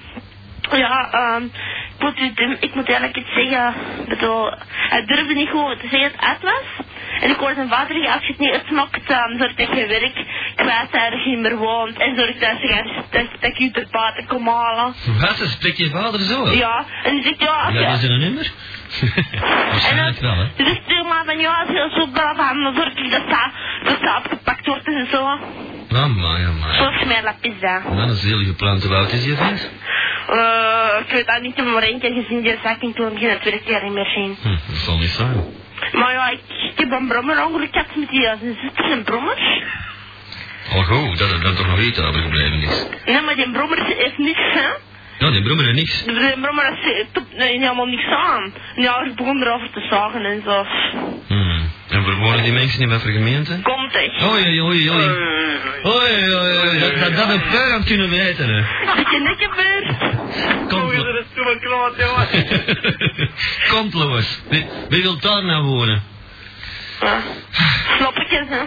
G: ja, ehm, ik, moet u, dum- ik moet eigenlijk iets zeggen. Ik bedoel, hij durfde niet goed te zeggen dat het uit was. En ik hoorde zijn vader zeggen, als je het niet uitmaakt, ehm, zorg dat je werk kwijt daar niet meer woont. En zorg dat, je, dat, dat ik je ter buiten kom halen.
E: Wat? Dan spreekt je vader zo?
G: Ja, en die zegt, ja, als
E: Ja,
G: je-
E: dat is een nummer. Waarschijnlijk wel, hè?
G: dus ik zeg maar van ja, als je zo braaf aan dan zorg ik dat dat, dat dat opgepakt wordt en zo.
E: Mama, ja, Nou, maar.
G: Volgens mij dat is dat.
E: Wat Oh, een zelige plant. Hoe oud is je vent?
G: Eh, ik weet dat niet, ik heb hem maar één keer gezien, die zak, en ik wil hem geen tweede keer niet meer zien.
E: Hm, dat zal niet zijn.
G: Maar ja, ik, ik heb een brommerongeluk gehad met die eh, zijn zuster en brommer.
E: Al goed, Oh, dat er dan toch nog iets overgebleven is.
G: Nee, maar die brommer heeft niks, hè. Dus
E: Ja, die brommer en niks.
G: Die brommer heeft top- nee, helemaal niks aan. En ja, ik begon erover te zagen en zo.
E: Hm. En waar wonen die mensen in wat voor gemeente?
G: Komt echt.
E: Oei, oei, oei, oei. Oei, oei, oei. Dat, dat, dat een puin aan kunnen weten, hè.
G: Beetje nekkenbeurt.
E: Komt,
H: Jongens,
E: lo-
H: dat is toch een kloot, jongen.
E: Komt, Lois. Wie, wie wil daar nou wonen?
G: Ja. Sloppetjes, hè.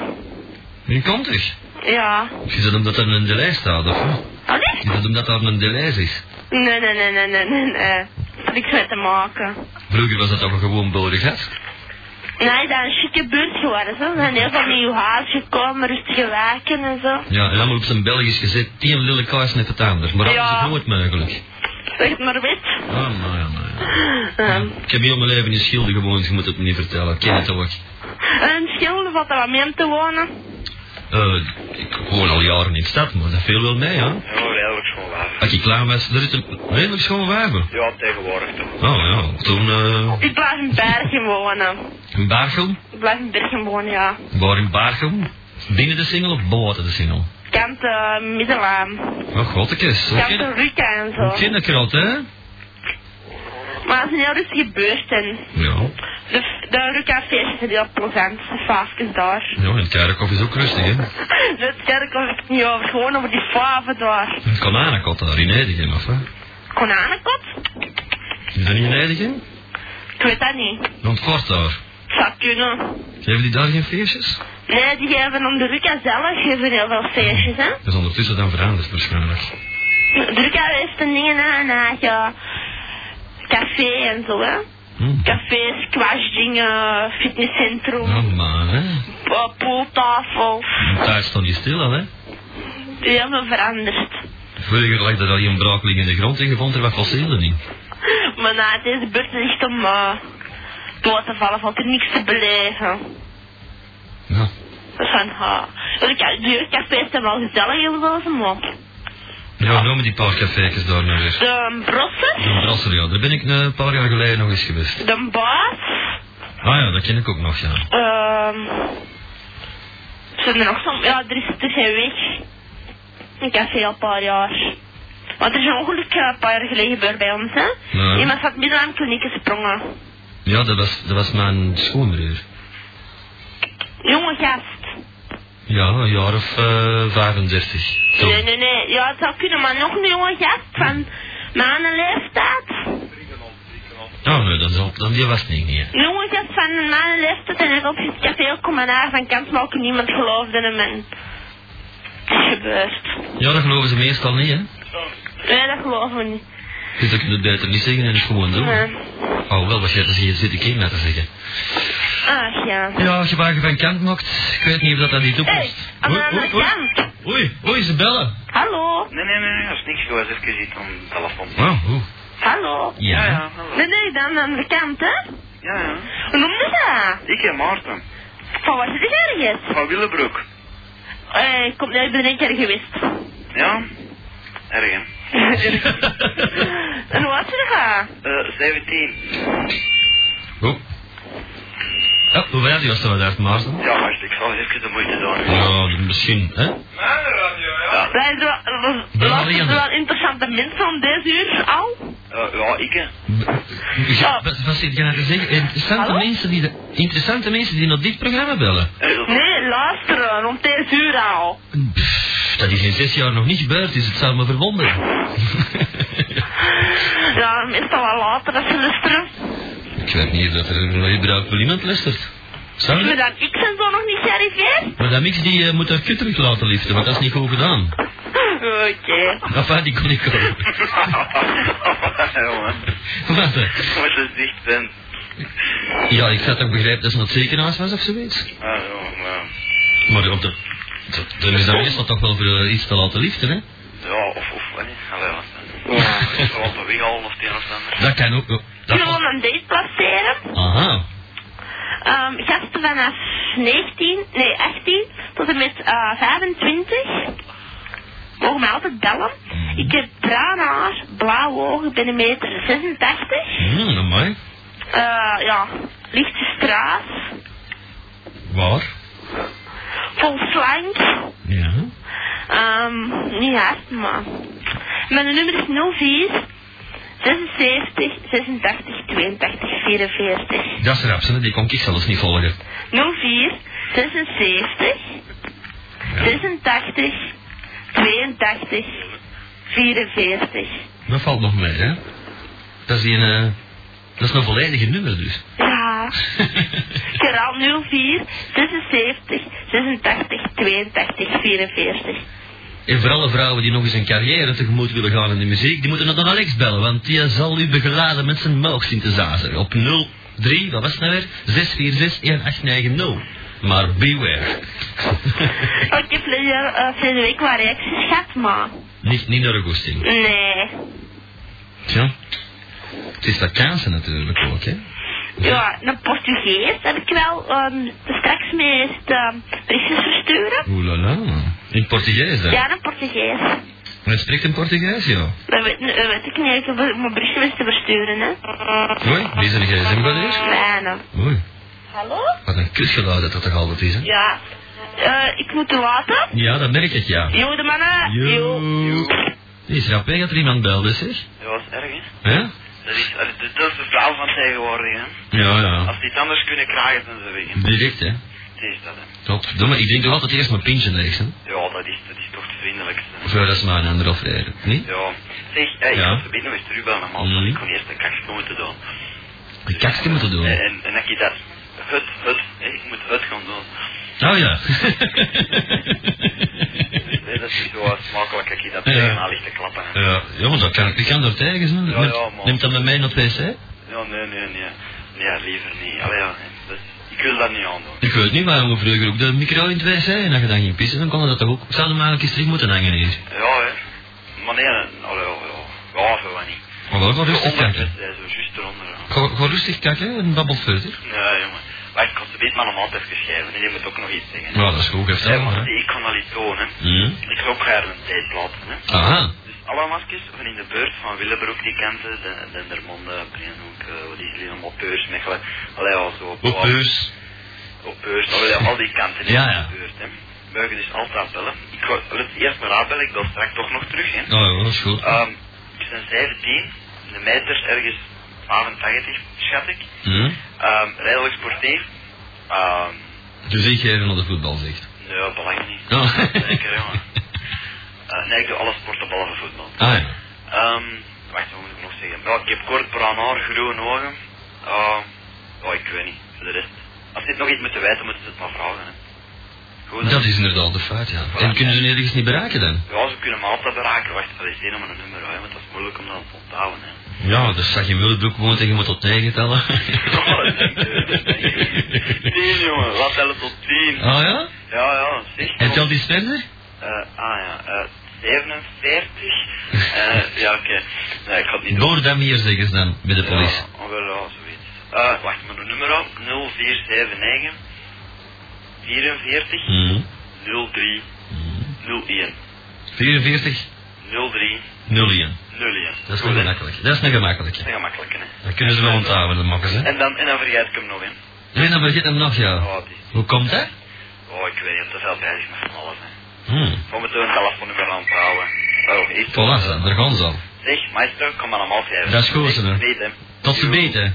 E: Wie komt er?
G: Ja.
E: Is dat omdat er een delay staat, of wat?
G: Allee?
E: Is dat omdat daar een delay is?
G: Nee, nee, nee, nee, nee, nee, nee. Dat had niks mee te maken.
E: Vroeger was dat toch een gewoon bodig gat?
G: Nee, dat is een chique buurt geworden. Zo. Er zijn heel veel nieuw huis gekomen, rustige wijken en zo.
E: Ja, en allemaal op zijn Belgisch gezet. Die lille kaars net het ander. Maar alles
G: Ja.
E: is nooit mogelijk.
G: Zeg het maar wit.
E: Ah, maar ja, maar ja.
G: Ehm,
E: Ik heb heel mijn leven in Schilde gewoond, je moet het me niet vertellen. Ik ken
G: Ah.
E: het ook.
G: En Schilder valt er wat mee om te wonen.
E: Eh, ik woon al jaren in de stad, maar dat viel wel mee, hè.
H: Ja, redelijk schoon water.
E: Als ik klaar was, er is een redelijk schoon wapen.
H: Ja, tegenwoordig toch.
E: Oh ja, toen eh
G: Ik blijf in Bergen wonen.
E: in Barchem.
G: Ik blijf in Bergen wonen, ja.
E: Waar in Barchem? Binnen de single of buiten de single?
G: Kant eh Middelaan.
E: Oh, godtekes. Hoe
G: Kant
E: ken-
G: Ruka en
E: hoe
G: zo.
E: ken ik dat, hè?
G: Maar het is een heel rustige beurt en
E: Ja.
G: de, de Ruka-feestjes zijn heel plezant. De vaafjes daar.
E: Ja, en het Kerkhof is ook rustig, hè?
G: Het kerk heb ik het niet over, gewoon over die faven daar.
E: Het Kananekot daar in Edegem, of hè?
G: Konanenkot?
E: Is dat niet in Edegem?
G: Ik weet dat niet.
E: Want kort daar.
G: Het zou kunnen.
E: Geven die daar geen feestjes?
G: Nee, die geven om de Ruka zelf geven heel veel feestjes, hè.
E: Dat is ondertussen dan veranderd waarschijnlijk.
G: De Ruka heeft een dingen aan haar ja, café en zo, hè.
E: Hm.
G: Cafés, kwasdingen, fitnesscentrum,
E: Ja, maar hè.
G: eh, pooltafels.
E: De tijd stond je stil al, hè?
G: Heel veel veranderd.
E: Vorige keer lag er al een braakling in de grond en je vond er wat fossielen in.
G: Maar na deze beurt is het echt om eh, door te vallen, valt er niks te beleven.
E: Ja.
G: Dus van, ha. de deurcafés zijn wel gezellig heel wel eens, maar...
E: Ja, noemen die paar cafékes daar nou weer.
G: De
E: De
G: brosser,
E: Brasser, ja. Daar ben ik eh, een paar jaar geleden nog eens geweest.
G: de baas,
E: Ah ja, dat ken ik ook nog, ja.
G: ehm... zijn er nog zo'n... Ja, er is er zijn weg. Een café al een paar jaar. Want er is een ongeluk eh, een paar jaar geleden gebeurd bij ons, hè.
E: Ja.
G: Iemand had midden aan klinieken sprongen.
E: Ja, dat was, dat was mijn schoonbroer.
G: Jonge gast.
E: Ja, een jaar of eh 35. Zo.
G: Nee, nee, nee. Ja, het zou kunnen, maar nog een jonge gast van mijn leeftijd.
E: Oh nee, dat, zal, dan, die was het niet meer.
G: Een jonge gast van mijn leeftijd en net op het café komen naar van kant, maar ook niemand geloofde hem en... Het is gebeurd.
E: Ja, dat geloven ze meestal niet, hè.
G: Nee, dat geloven we niet.
E: Dus dat kun je het beter niet zeggen en het gewoon doen.
G: Nee.
E: Oh, wel, wat jij te zeggen zit ik in, te zeggen.
G: Ach Ah, ja.
E: Ja, als je wagen van kant maakt, ik weet niet of dat dat niet
G: Hey,
E: oplost.
G: aan de
E: Oei,
G: andere
E: oei,
G: kant.
E: oei, oei, oei, ze bellen.
G: Hallo.
H: Nee, nee, nee, nee, dat is niks. Ik was even zitten aan de telefoon.
E: Oh, oeh.
G: Hallo.
H: Ja,
E: Ja.
H: ja, hallo.
G: Nee, nee, dan aan de andere kant, hè.
H: Ja, ja.
G: Hoe noemde dat?
H: Ik ben Maarten.
G: Van waar zit je ergens?
H: Van Willebroek.
G: Eh, ik kom net bij een keer geweest.
H: Ja? Erg, hè?
G: en hoe was je dat?
H: Eh, 17.
E: Oeh. Oh. Ja, hoe wij die was dat uit Maarten?
H: Ja, wacht, ik zal eens even de moeite doen.
E: Ja, misschien, hè?
H: Ja,
G: Zijn er wel- luisteren er wel interessante mensen om deze uur al?
H: eh, ja ik, hè?
E: Ja, wat, wat zit je nou te zeggen? Interessante
G: Hallo?
E: mensen, die de- interessante mensen die naar dit programma bellen.
H: Eh, dat-
G: Nee, luisteren om deze uur al.
E: Pff, dat is in zes jaar nog niet gebeurd, dus het zou me verwonderen.
G: Ja, meestal wel later als ze luisteren.
E: ik weet niet of dat er überhaupt wel iemand luistert. Zou
G: Maar
E: dat?
G: dan ik ben zo nog niet gearriveerd.
E: Maar dat mix die eh, moet haar kut terug laten liften, want dat is niet goed gedaan.
G: Oké.
E: Enfin, die kon ik ook.
H: Jongen,
E: Wat, eh?
H: als je dicht bent.
E: Ja, ik had ook begrepen dat ze naar het ziekenhuis was of zoiets.
H: Ah, ja, maar...
E: Maar op de... dat- Dan is dat meestal toch wel voor eh, iets te laten liften, hè?
H: Ja, of, of, hè? Allee, wat dan? Ja, ik zal op de weg al of het een of het ander.
E: Dat kan ook... oh, Dat
G: Kunnen we een date placeren?
E: Aha.
G: Ehm, gasten vanaf 19, nee 18 tot en met eh, 25 mogen mij altijd bellen. Ik heb bruin haar, blauwe ogen, ik ben een meter 86.
E: Hmm, amai.
G: Eh, ja, lichte straat,
E: Waar?
G: vol slank.
E: Ja.
G: Ehm, niet hard, maar. Mijn nummer is 04 76 86 82 44.
E: Dat is rapsen, die kon ik zelfs niet volgen.
G: 04 76 86 82 44.
E: Dat valt nog mee, hè? Dat is die een... eh, dat is een volledige nummer dus.
G: Ja, ik herhaal 04 76 86 82 44.
E: en voor alle vrouwen die nog eens een carrière tegemoet willen gaan in de muziek, die moeten naar Don Alex bellen, want die zal u begeladen met zijn melksynthesizer op 03, wat was het nou weer? 646-1890. Maar beware.
G: Ik heb verleden eh, verleden week wel reacties gehad, maar
E: niet, niet naar Augustin.
G: nee.
E: Tja. Het is Latijnse natuurlijk ook, hè?
G: Ja, een Portugees heb ik wel ehm, straks mee eens de briefjes versturen.
E: Oeh la la. In Portugees dan?
G: Ja, een Portugees.
E: Men spreekt in Portugees, ja.
G: Dat weet, dat weet ik niet, ik heb mijn briefjes te versturen, hè.
E: Oei, wie zijn de gsm wel eens?
I: eh,
G: Bijna.
E: Oei,
G: Hallo?
E: wat een kusgeluid dat dat toch altijd is, hè?
G: Ja. Eh, ik moet u laten.
E: Ja, dat merk ik, ja.
G: Jo, de mannen.
E: Jo. Die is rap weg dat er iemand belde, zeg.
H: Dat was erg, hè?
E: Hè?
H: Dat is, allee, dat dat is de verhaal van tegenwoordig, hè.
E: Ja, ja.
H: Als die iets anders kunnen krijgen, dan ze weg. hè.
E: Direct, hè?
H: Het is dat, hè.
E: Klopt. Doe maar, ik drink toch altijd eerst mijn pintje leeg, hè?
H: Ja, dat is, dat is toch het vriendelijkste.
E: Voordat ze maar een anderhalf rijden. Niet?
H: Ja. Zeg, hey, ik
E: Ja.
H: ga ze binnen nog eens terugbellen, normaal.
E: Mhm.
H: Ik kon eerst een kaksje moeten doen.
E: Een kaksje moeten doen. Oh,
H: En, en, en dat je dat... Het, het. hè, ik moet het gaan doen.
E: Oh ja.
H: Nee, Dus, dat is zo smakelijk dat je dat
E: Ja.
H: tegen haar ligt te klappen. hè.
E: ja, ja, maar dat kan ik. Ik kan door tegen zijn.
H: Ja, ja, man.
E: Neemt dat met mij naar het wc?
H: Ja, nee, nee, nee. Nee, liever niet. Allee, ja, hè. dat, ik wil dat niet aandoen.
E: Ik weet niet waarom we vroeger ook de micro in het wc en als je dan ging pissen, dan kon dat toch ook. Zouden we eigenlijk eens terug moeten hangen hier.
H: Ja, hè. Maar nee, allee, ja, ja. Ja, zo wat niet.
E: Maar wel gewoon rustig
H: Onder-
E: kakken.
H: Ja, zo juist eronder. ja.
E: Gewoon gewoon rustig kakken en babbel verder.
H: Nee, jongen. Maar ik kan ze beet maar normaal even schrijven. Je moet ook nog iets zeggen.
E: Nou, dat is goed, heeft
H: Ja,
E: dat
H: maar
E: maar. hè.
H: ik kan al iets doen, hè.
E: Hmm.
H: Ik ga ook graag een tijd laten, hè.
E: Aha.
H: Dus alle maskers van in de beurt van Willebroek, die kanten, de- Dendermonde, Prienhoek, eh, wat is het hier allemaal, Peurs, Mechelen. Allee, al zo op
E: Op beurs.
H: op Beurs, allee, al die kanten in
E: Ja, ja.
H: de beurt, hè. Mogen dus altijd bellen. Ik ga let eerst maar aanbellen, ik bel straks toch nog terug, hè.
E: Oh, ja, dat is goed.
H: Ehm, ik ben 17, de meter ergens 85, schat ik.
E: Hmm.
H: Ehm, redelijk sportief. Ehm,
E: Dus ik geef naar de voetbal, zegt.
H: nee, belangrijk niet.
E: Oh.
H: Zeker, jongen. Eh, nee, ik doe alle sporten behalve voetbal.
E: Ah ja.
H: Ehm, wacht, wat moet ik nog zeggen? Ja, ik heb kort bruin haar, groene ogen. Ehm, oh, ik weet niet, voor de rest. Als dit nog iets moeten weten, moeten ze het maar vragen. Hè. Goed, hè?
E: Dat is inderdaad de fout, ja. En kunnen ze nergens niet bereiken dan?
H: Ja, ze kunnen me altijd bereiken. Wacht, dat is één om een nummer, hè, want dat is moeilijk om dat te onthouden. Hè.
E: Ja, dus zag je Willebroek woont en je moet tot negen tellen.
H: Oh, dank je, dank je. Tien, jongen, laat tellen tot tien.
E: Oh ja?
H: Ja, ja, zeg.
E: En telt iets verder?
H: Eh, ah ja, eh, 47. Eh, ja, oké. Nee, ik had niet
E: Door dan hier zeggen ze dan, bij de politie.
H: Ja, oh, wel, ja, zoiets. Eh, wacht, mijn nummer op. 0479 44
E: Hmm.
H: 03 01
E: 44
H: 03
E: 01.
H: 01.
E: Dat is
H: Goed,
E: nog
H: hè?
E: gemakkelijk. Dat is nog gemakkelijk.
H: Dat is gemakkelijk, hè.
E: Dat kunnen ze wel onthouden, de makkers, hè.
H: En dan, en dan vergeet ik hem nog, hè.
E: Nee, dan vergeet hem nog, ja.
H: Oh, het is-
E: Hoe komt dat?
H: oh ik weet niet, te veel bezig met van alles, hè.
E: Hmm.
H: We moeten een telefoonnummer aanhouden. Oh, eerst...
E: Voilà, dan, daar gaan ze al.
H: Zeg, meester, kom maar allemaal geven.
E: Dat is goed,
H: Zeg,
E: hè.
H: weet, hè.
E: Tot ze
H: Jo.
E: beter.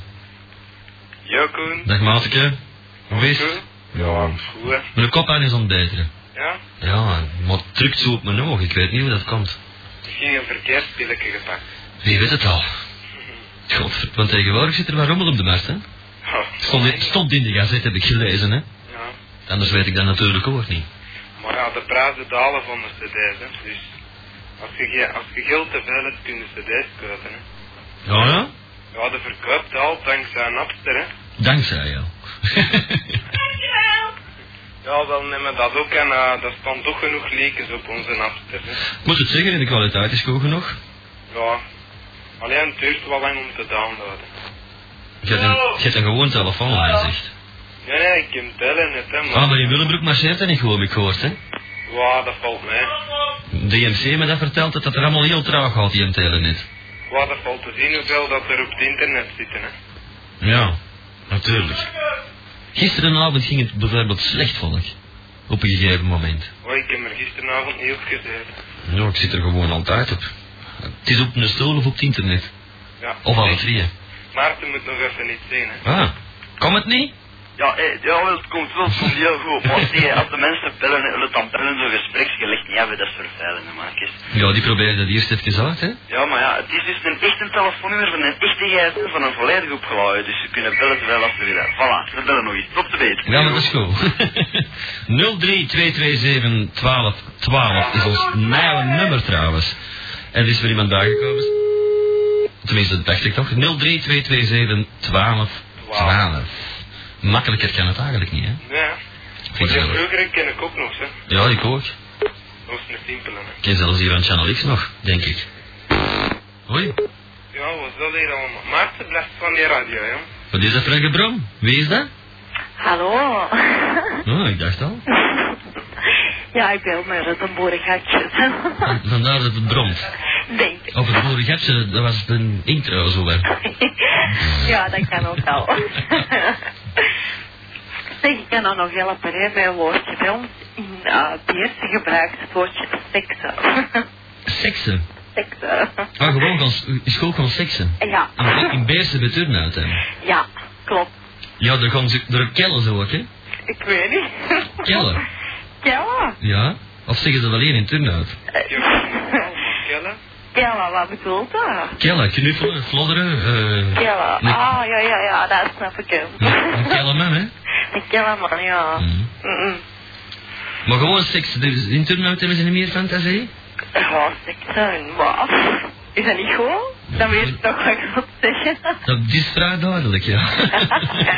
H: Jo, Koen.
E: Dag, Mateke. Hoe is het?
H: Ja. Goed, hè.
E: Mijn kop aan is aan het beteren.
H: Ja?
E: Ja, man. maar het drukt zo op mijn oog. Ik weet niet hoe dat komt.
H: Misschien een verkeerd pilletje gepakt.
E: Wie weet het al? God, want tegenwoordig zit er wat rommel op de markt, hè.
H: Oh.
E: Stond in, stond in de gazette, heb ik gelezen, hè.
H: Ja.
E: Anders weet ik dat natuurlijk ook niet.
H: Maar ja, de prijzen dalen van de cd's, hè. Dus als je, ge- als je geld te veel hebt, kun je cd's kopen, hè.
E: Ja, ja?
H: Ja, de verkoop daalt dankzij Napster, hè.
E: Dankzij jou.
H: Ja, wel nemen dat ook en eh dat staan toch genoeg leekjes op onze Napster, hè.
E: Ik moet het zeggen, de kwaliteit is goed genoeg.
H: Ja. Alleen het duurt wel lang om te downloaden.
E: Je hebt een, je hebt een gewoon telefoon aan gezicht.
H: Nee, nee, ik kan tellen net, hè, maar...
E: Ah, maar in Willembroek marcheert dat niet gewoon, heb ik gehoord, hè.
H: Ja, dat valt mee.
E: DMC me dat vertelt dat het er allemaal heel traag gaat, die MTL net.
H: Ja, dat valt te zien hoeveel dat er op het internet zitten, hè.
E: Ja, natuurlijk. Gisterenavond ging het bijvoorbeeld slecht, vond ik. Op een gegeven moment.
H: Oh, ik heb er gisteravond niet op gezeten.
E: Ja, ik zit er gewoon altijd op. Het is op een stoel of op het internet.
H: Ja.
E: Of alle drieën.
H: Maarten moet nog even iets zien, hè.
E: Ah, kan het niet?
H: Ja, eh, ja wel, het komt wel, het komt heel goed. Maar zie, als de mensen bellen, eh, willen dan bellen zo'n gespreksgelicht niet hebben, dat is vervuilend, maatjes.
E: Ja, die probeerde dat eerst even uit, hè.
H: Ja, maar ja, het is dus een echt een telefoonnummer van een echte gsm van een volledig opgeladen. Dus ze kunnen bellen terwijl als ze willen. Voilà, ze bellen nog iets. Tot te weten.
E: Ja, maar dat is goed. 03227 1212 is ons nieuwe nummer trouwens. En er is weer iemand bijgekomen. Tenminste, dat dacht ik toch. 03227 1212. Makkelijker kan het eigenlijk niet, hè?
H: Ja,
E: Vind je zelf.
H: ken ik ook nog, hè.
E: Ja, ik ook.
H: Dat is een simpele, hè.
E: Ik ken zelfs hier van Channel X nog, denk ik. Hoi,
H: Ja, wat is dat hier allemaal? Maarten blijft van die radio, hè.
E: wat is dat voor een gebrom? Wie is dat?
I: Hallo.
E: Oh, ik dacht al.
I: ja, ik bel maar uit een boerengatje.
E: Van- Vandaar dat het bromt.
I: Denk ik.
E: Over het boerengepse, dat was een intro zo wel.
I: ja, dat kan ook wel. zeg, ik kan dan nog helpen hè, bij een woordje. Bij ons in eh Beersen gebruikt het woordje seksen.
E: Seksen.
G: sekte.
E: Ah, gewoon gaan, school gaan seksen. Ah,
G: Ja,
E: In, in Beersen met turn uit, hè.
G: ja, klopt.
E: Ja, daar gaan ze, daar kellen ze ook, hè.
G: Ik weet niet.
E: Kellen.
G: Kella.
E: Ja. Of zeggen ze wel één in turn uit?
H: Kellen?
G: Kella, wat bedoelt dat?
E: Kellen, knuffelen, flodderen, eh...
G: Kella.
E: Nee.
G: Ah, ja, ja, ja, dat snap ik hem.
E: ja, een kellen man, hè.
G: Een kella man, ja. Mm,
E: Mhm.
G: Mm-mm.
E: Maar gewoon seks, dus in turn uit hebben ze niet meer fantasie?
G: Ja, sekte en wat? Is dat niet goed? Dan weet je toch wat ik wil zeggen.
E: Dat is vrij duidelijk, ja.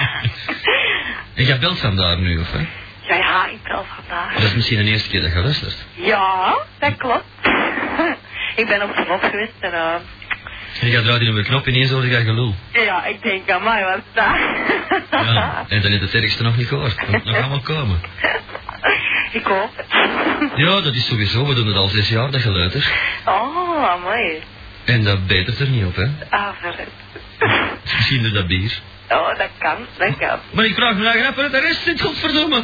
E: en jij belt vandaar nu, of hè?
G: Ja, ja, ik bel vandaag.
E: Dat is misschien de eerste keer dat je luistert.
G: Ja, dat klopt. ik ben op de mop geweest en eh,
E: En je gaat eruit in een knop en ineens hoor je dat gelul.
G: ja, ik denk aan mij was dat.
E: Ja. En dan is het ergste nog niet gehoord. Dat moet nog allemaal komen.
G: ik hoop het.
E: Ja, dat is sowieso. We doen het al zes jaar, dat geluid er.
G: oh, mooi.
E: En dat betert er niet op, hè.
G: Ah, verrekt.
E: Misschien door dat bier.
G: Oh, dat kan, dat kan.
E: Maar ik vraag me nou grap waar de rest zit, godverdomme.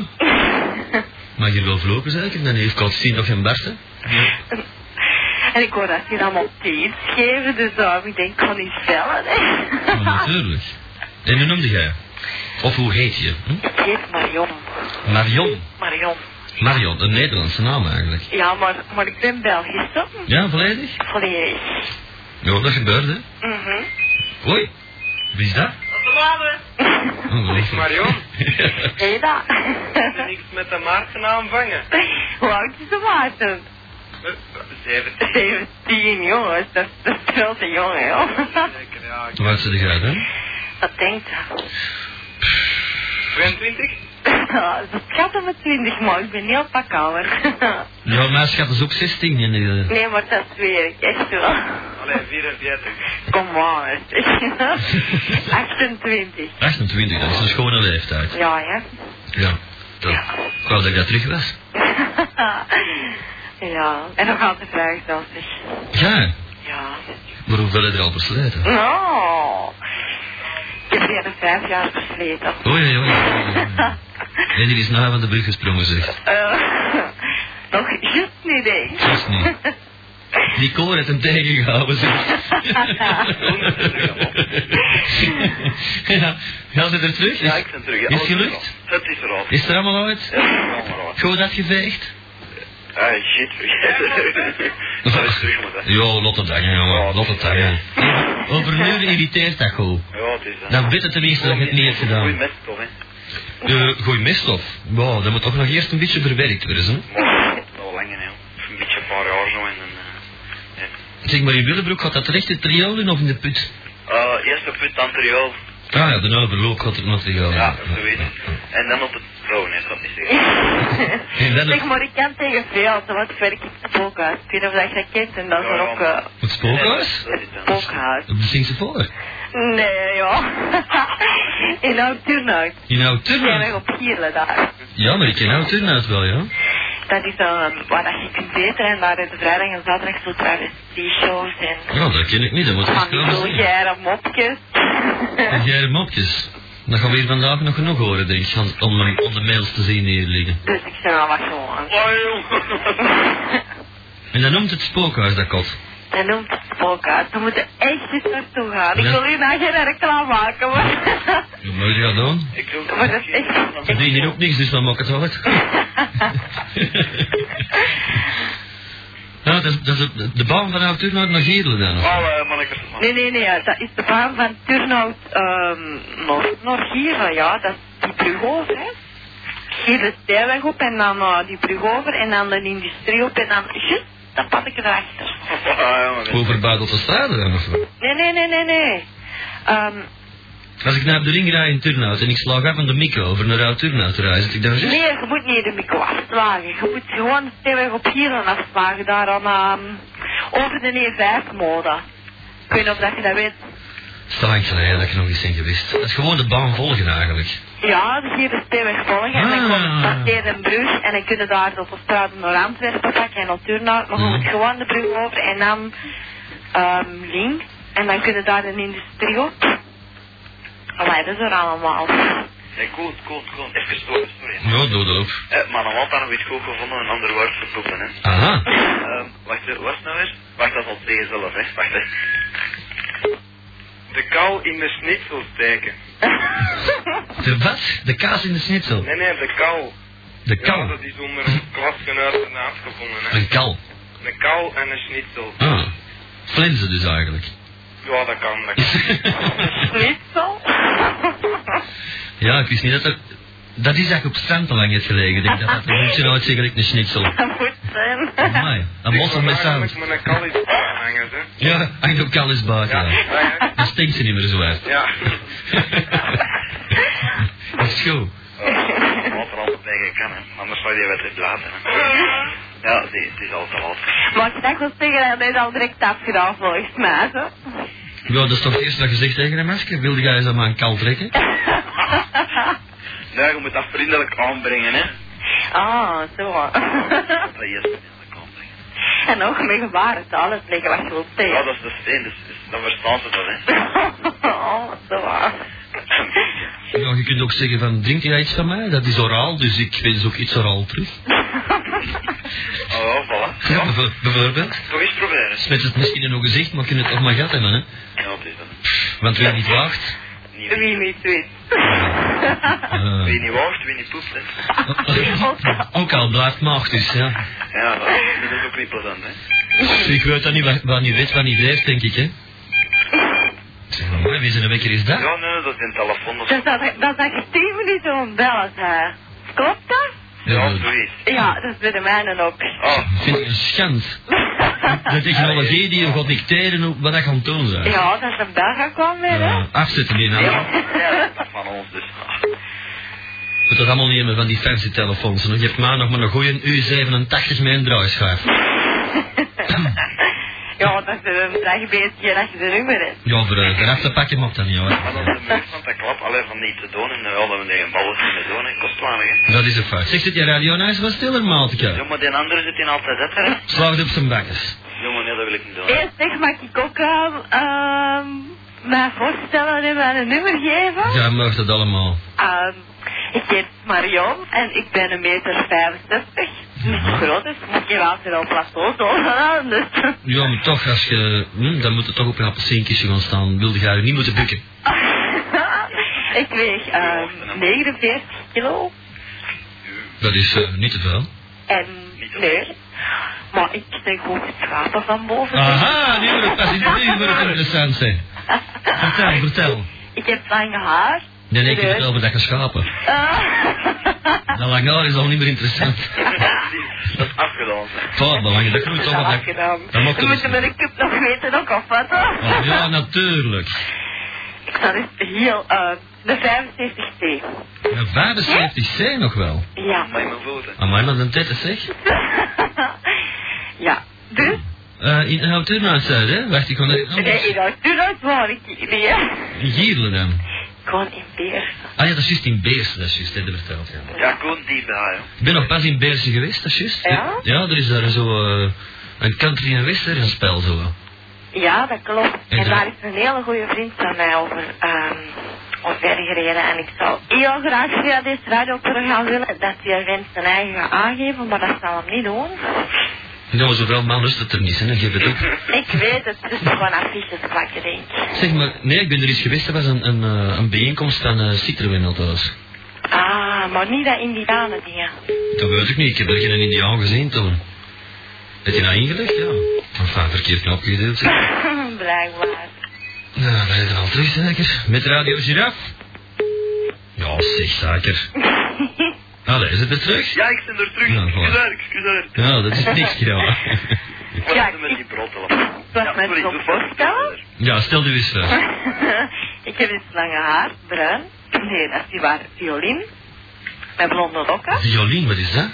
E: Maar je wil lopen, zeg ik. Dan heeft Kotstien nog geen barsten.
G: En ik hoor dat ze allemaal tips geven, dus daarom ik denk, ik kan niet bellen. Hè.
E: Maar natuurlijk. En hoe noemde jij? Of hoe heet je? Hm?
G: ik heet Marion.
E: Marion.
G: Marion.
E: Marion, een Nederlandse naam eigenlijk.
G: Ja, maar, maar ik ben Belgisch, toch?
E: Ja, volledig?
G: Volledig.
E: Ja, dat gebeurde. hè.
G: Mhm.
E: Hoi. Wie is dat? Oh, wellicht.
H: Marion,
G: Ken je dat?
H: is er niks met de Maarten aanvangen?
G: Hoe oud is de Maarten?
H: Eh, Zeven.
G: 17 jongens, dat is een grote jongen, joh.
H: Zeker, ja.
E: Hoe oud ze de uit, hè?
G: Wat denkt dat?
H: 22?
G: Het gaat om het 20, maar ik ben heel pak ouder.
E: Ja, mijn schat is ook 16 en eh,
G: Nee, maar dat zweer ik, echt wel.
H: Allee, 44.
G: Kom maar, zeg. 28.
E: 28, dat is een schone leeftijd.
G: Ja, hè?
E: Ja. Dat, ik wou dat ik dat terug was.
G: ja, en dan gaat de vraag dan, zeg.
E: Ja,
G: Ja.
E: maar hoeveel heb je al versleten?
G: Nou, ik heb weer de vijf jaar versleten.
E: Oei, oei, oei. En die is nou van de brug gesprongen, zeg.
G: Eh, nog juist niet eens.
E: Juist niet. Die koor heeft hem tegengehouden, zeg. ja, ja, zit er terug?
H: Ja, ik ben terug. hè.
E: Is
H: Alles
E: gelukt?
H: erop. Het is erop.
E: Is er allemaal uit?
H: Het is allemaal erop.
E: Goed afgeveegd?
H: Ah, shit. Dat is terug, maar dat...
E: Jo, lotte dagen, jongen. Lotte dagen. Over een uur irriteert dat goed.
H: Ja, het is dat.
E: Dan weet het tenminste dat je het niet hebt gedaan.
H: Goeie mest, toch, hè?
E: Eh, gooi meststof. Wow, dat moet toch nog eerst een beetje verwerkt worden. Hè?
H: Maar dat is al lang, hè. joh. Een beetje een paar jaar zo en dan... eh, ja.
E: Zeg maar, in Willebroek gaat dat terecht in het riool in of in de put?
H: Eh, eerst op het anterieur.
E: Ah ja, de overloop gaat er nog het riool in.
H: Ja, zoiets. En dan op het vrouw, nee, dat is zeker.
E: En dan
G: Zeg
E: het,
G: maar, ik kan tegen veel, want werk ik spookhuis. Ik weet niet of dat je dat kent en dat is
H: Ja,
G: dan
H: ja.
G: ook eh,
E: het spookhuis?
H: Dat is het dan.
G: spookhuis.
E: Dat zingt ze voor.
G: Nee, joh. In Oud-Turnhout.
E: In oud
G: Zijn we
E: Turnhout.
G: op Gierle daar.
E: Ja, maar ik ken oud Turnhout wel, ja.
G: Dat is dan waar dat je kunt beter en daar is de vrijdag en zaterdag zo travestie-shows en
E: Ja, dat ken ik niet, dat moet
G: van
E: ik
G: die
E: komen zeggen.
G: vulgaire mopjes.
E: En jij de mopjes. Dat gaan we hier vandaag nog genoeg horen, denk ik, van- om, de- om de mails te zien hier liggen.
G: Dus ik zei, nou, wat gewoon.
E: En dan noemt het spookhuis dat kot.
G: Dat noemt het spookhuis. We moeten echt eens naartoe gaan. Ik wil u nou geen reclame maken, maar...
E: Ja, maar Wat moet je gaan doen?
H: Ik wil
G: Maar dat is
E: Ze
G: echt...
E: doen hier ook niks, dus dan maakt het wel uit. Nou, dat is, dat is de, de baan van oud Turnhout naar Geerle dan. of?
H: Alle eh, mannetjes, man.
G: Nee, nee, nee, ja, dat is de baan van Turnhout ehm Noord, Noord hier, ja, dat is die brug over, hè. Hier de stijlweg op en dan eh, die brug over en dan de industrie op en dan, just, dat pad ik erachter.
H: Ah, ja, maar dat-
E: Over Badelse Staden dan of wat?
G: Nee, nee, nee, nee, nee. Ehm,
E: Als ik naar de ring rijd in Turnhout en ik slaag af aan de micro over naar oud Turnhout te rijden, zit ik dan zo?
G: nee, je moet niet de micro afslagen. Je moet gewoon de stijlweg op hier dan afslagen, daar aan, ehm, over de E5-mode. Ik weet niet of dat je dat weet.
E: Is te lang geleden dat ik nog eens ben geweest. Dat is gewoon de baan volgen eigenlijk.
G: Ja, dus hier de steenweg volgen en dan komt
E: Ah.
G: het passeer een brug en dan kunnen daar de autostrade naar Antwerpen pakken en natuurlijk naar, maar je moet
E: Mhm.
G: gewoon de brug over en dan ehm, links en dan kunnen daar een industrie op. Allee, dat is er allemaal.
H: Nee, goed, goed, goed. Even storen, sorry.
E: Ja, doe dat ook.
H: Eh, maar normaal hadden we het goed gevonden, een ander woord voor poepen, hè.
E: Aha.
H: Ehm, wacht, eh, wat is het nou weer? Wacht, dat is al tegen zelf, hè. Wacht, hè. De kou in de snitsel steken.
E: De wat? De kaas in de schnitzel.
H: Nee, nee, de kou.
E: De kal.
H: is onder een klasgenoot afgevonden,
E: Een kal.
H: De kou en een schnitzel.
E: Ah. Flensen dus eigenlijk.
H: Ja, dat kan, dat
G: Schnitzel?
E: ja, ik wist niet dat dat... Dat is eigenlijk op het strand al lang heeft gelegen. Ik denk dat dat een beetje uit een schnitzel.
G: Dat moet zijn.
E: Amai, een mossel met zout.
H: met een kou is aanhangen, hè.
E: Ja, hangt op kal is buiten. Ja.
H: Ja.
E: Dan stinkt ze niet meer zo uit.
H: Ja.
E: Dat is goed.
H: Eh, Wat er altijd tegen kan, hè. Anders zou je wedstrijd laten, hè. Ja, het is- het is al te laat.
G: Maar ik dacht wel zeggen, dat is al direct afgedaan volgens mij. Zo.
E: Ja, dat is dus toch het eerste dat je zegt tegen een meisje. Wilde jij eens aan mijn kal trekken?
H: Ja, je moet dat vriendelijk aanbrengen, hè.
G: Ah, zo.
H: Dat is vriendelijk aanbrengen.
G: en ook met gebarentaal uitleggen wat je wilt
H: Ja,
G: zeggen.
H: dat is de steen, dus, dus dan verstaan ze dat, hè.
G: oh, zo.
E: Ja, je kunt ook zeggen van, drink jij iets van mij? Dat is oraal, dus ik wens ook iets oraal terug.
H: Oh, voilà.
E: Ja, bijvo- bijvoorbeeld.
H: Toch eens proberen.
E: Smet het misschien in uw gezicht, maar kun het op mijn gat hebben, hè.
H: Ja, dat is dan.
E: Want wie niet waagt...
H: Niet
G: Wie niet weet.
E: eh,
H: Wie niet waagt, wie niet poept, hè.
E: ook al blijft maagd dus, ja.
H: Ja, dat, dat is ook niet plezant, hè.
E: Ik weet dat niet, wat, wat niet weet, wat niet blijft, denk ik, hè. Zeg maar, mooi, wie zijn een wekker is dat?
H: Ja, nee, dat is een telefoon of zo.
G: Dus dat, dat dat je tien minuten om bellen hè. Klopt dat?
H: Ja,
E: Ja,
H: zoiets.
G: Ja, dat is bij de mijnen ook.
H: Oh,
E: ik vind het een schand. De technologie die je gaat dicteren hoe- wat dat gaan doen, zijn.
G: Ja, dat is een berg kwam weer, hè.
E: Ja, afzetten die nou.
H: ja, dat is van ons dus.
E: Moet dat allemaal nemen van die fancy telefoons. hè. Je hebt maar nog maar een goeie U87 met een draaischijf.
G: Ja, dat is een slecht beetje dat je de nummer hebt.
E: Ja, voor eh, eraf te pakken mag dat niet
H: Maar
E: hoor.
H: dat is de muur van dat klap, alleen van niet te doen. En eh, wel dat we tegen ballen kunnen doen, hè. Kost weinig, hè.
E: Dat is een fout. Zeg, zit je radio nou eens wat stiller,
H: Ja,
E: Maatika?
H: maar die andere zit in altijd dat, hè.
E: Slaag op zijn bakkes.
H: Ja, maar nee, dat wil ik niet doen. hè.
G: Eerst zeg, mag ik ook ehm ehm, mij voorstellen en mij een nummer geven?
E: Ja, mag dat allemaal.
G: Ehm, ik heet Marion en ik ben een meter 65. Niet zo groot, dus ik moet je water op plateau doorgaan. Dus.
E: Ja, maar toch, als je... Hm, dan moet het toch op een appelsinkistje gaan staan. Wilde jij je niet moeten bukken.
G: ik weeg ehm 49 kilo.
E: Dat is eh, niet te veel.
G: En
H: Niet te
G: nee. Maar ik ben goed geslapen van boven.
E: Aha, nu wordt het pas nu wordt het interessant zijn. Vertel, vertel.
G: Ik heb lang haar. Dus-
E: Nee, nee, ik heb het over dat geschapen.
G: Ah.
E: Dat lang haar is al niet meer interessant.
H: Dat is afgedaan. hè.
E: Fout, belangrijk. Dat groeit toch wat dat...
G: gedaan.
E: dat mag toch
G: We moeten
E: eens-
G: met een cup nog weten ook of wat. hoor.
E: dus- Oh, ja, natuurlijk.
G: Ik zat dus heel, eh, de 75 C.
E: Ja, 75 C nog wel.
G: Ja.
H: Maar in mijn voeten.
E: Amai, maar dan tette zeg.
G: ja. Dus,
E: Eh in houdt u nou eens uit, hè? Wacht, ik kan er
G: nee,
E: anders...
G: dat doe dat waar ik hier niet, hè.
E: In Gierle dan.
G: Gewoon in Beersen.
E: Ah ja, dat is juist in Beersen, dat is juist, hè, dat vertelt ja.
H: Ja, Koen, die daar, joh.
E: Ik ben nog pas in Beersen geweest, dat is juist.
G: Ja?
E: Ja, er is daar zo eh, een country en western spel zo.
G: Ja, dat klopt.
E: En
G: En
E: dan-
G: daar is een hele goede vriend van mij over, ehm omver gereden. En ik zou heel graag via dit radioprogramma willen dat die event zijn eigen gaat aangeven, maar dat zal hem niet doen.
E: Nou, zoveel man lust het er niet, hè? Dan geef het op.
G: Ik weet het, dus gewoon affiches plakken, denk ik.
E: Zeg maar, nee, ik ben er eens geweest, dat was een, een, eh, een bijeenkomst van eh Citroën althans.
G: Ah, maar niet dat indianen dingen.
E: Dat weet ik niet, ik heb er geen Indiaan gezien toen. Heb je nou ingelegd? Ja. Enfin, verkeerd knop gedeeld. zeg.
G: Blijkbaar.
E: Nou, ben je er al terug, zeker? Met Radio Giraffe? Ja, zeg, zeker. Allee, is het er terug?
H: Ja, ik ben er terug.
E: Ja, voilà.
H: Excuseer, excuseer.
E: Ja, dat is niks, ja.
H: Wat
G: Ja,
H: is er met
G: ik-
H: die brottelen?
G: Wat
H: Ja,
G: met
H: sorry,
G: zo'n
H: doe
G: voorstel?
H: verder.
E: Ja, stel nu eens voor.
G: ik heb dus lange haar, bruin. Nee, dat is niet waar, violin. Met blonde lokken.
E: Violin, wat is dat?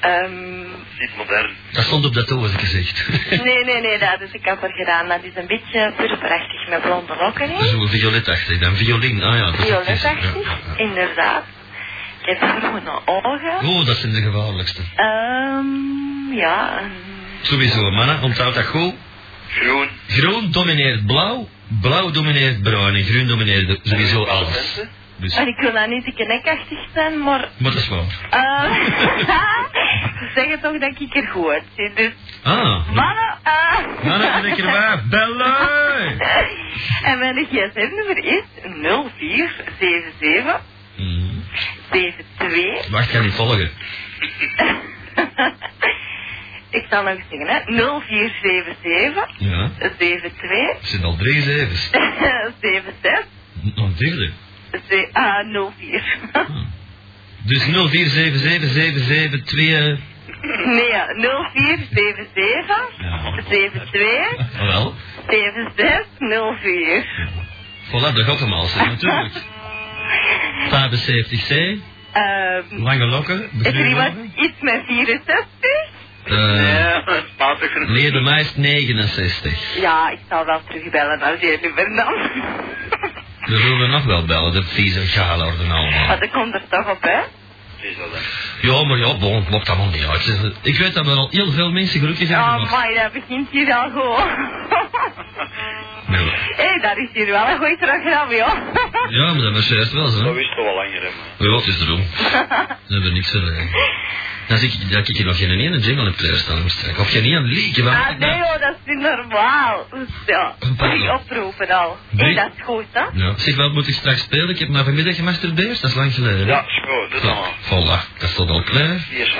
G: Ehm,
H: Niet modern.
E: Dat stond op dat toe, was ik gezegd.
G: nee, nee, nee, dat is ik heb er gedaan. Dat is een beetje purperachtig met blonde lokken. hè.
E: Zo violetachtig dan, violin, ah ja. dat is het, is het, ja,
G: Violetachtig,
E: ja, ja.
G: inderdaad. Ik heb groene ogen.
E: Oh, dat zijn de gevaarlijkste.
G: Ehm, ja, een
E: Sowieso, mannen, onthoud dat goed.
H: Groen.
E: Groen domineert blauw, blauw domineert bruin en groen domineert sowieso alles. Dus,
G: En ik wil nou niet te nekachtig zijn, maar...
E: maar dat is waar.
G: eh, ze zeggen toch dat ik er goed uitzie, dus...
E: Ah, nou,
G: Mannen, eh,
E: nou dan ben ik erbij. Bellen!
G: en mijn gsm-nummer is 0477
E: Hmm.
G: 72...
E: Wacht, ik ga niet volgen.
G: ik zal nog eens zeggen, hè. 0477
E: Ja,
G: 72
E: het zijn al drie zevens. Oh,
G: 76
E: Nog een derde.
G: ze- ah, 04.
E: Ah. Dus 0477772.
G: Nee, ja, 0477 72
E: Ah, wel.
G: 7604.
E: Voilà, dat gaat hem al zijn, natuurlijk. 75C,
G: Ehm
E: lange lokken,
G: is er iemand
E: bekleurd.
G: iets met 64?
E: Eh
H: Nee, dat is matig genoeg.
E: Leer de meis 69.
G: Ja, ik zal wel terugbellen als je nummer dan.
E: We willen nog wel bellen, dat vieze gale orde allemaal.
G: Maar dat komt er toch op, hè?
H: Is dat dan?
E: Ja, maar ja, bon, mocht allemaal niet uit. Ik weet dat we al heel veel mensen gelukkig zijn
G: Oh,
E: gemaakt.
G: maar dat begint hier al gewoon.
E: Nee,
G: Hé, dat is hier wel een goed programma, joh.
E: maar- Ja, maar dat was juist wel zo.
H: Dat wist toch wel langer, hè, man.
E: Ja, het is te doen. We hebben niks van. eh. Dan zie ik dat ik hier nog geen ene jingle heb klaarstaan. straks. Of geen ene liedje, maar...
G: Ah, nee, hoor, dat is niet normaal. Ja, drie oproepen al. Hé,
E: Drie?
G: dat is goed, hè?
E: Ja. Zeg, wat moet ik straks spelen? Ik heb maar vanmiddag gemasturbeerd, dat is lang geleden.
H: Ja, schoon, dat is allemaal.
E: Voilà, dat stond al klaar.
H: Hier.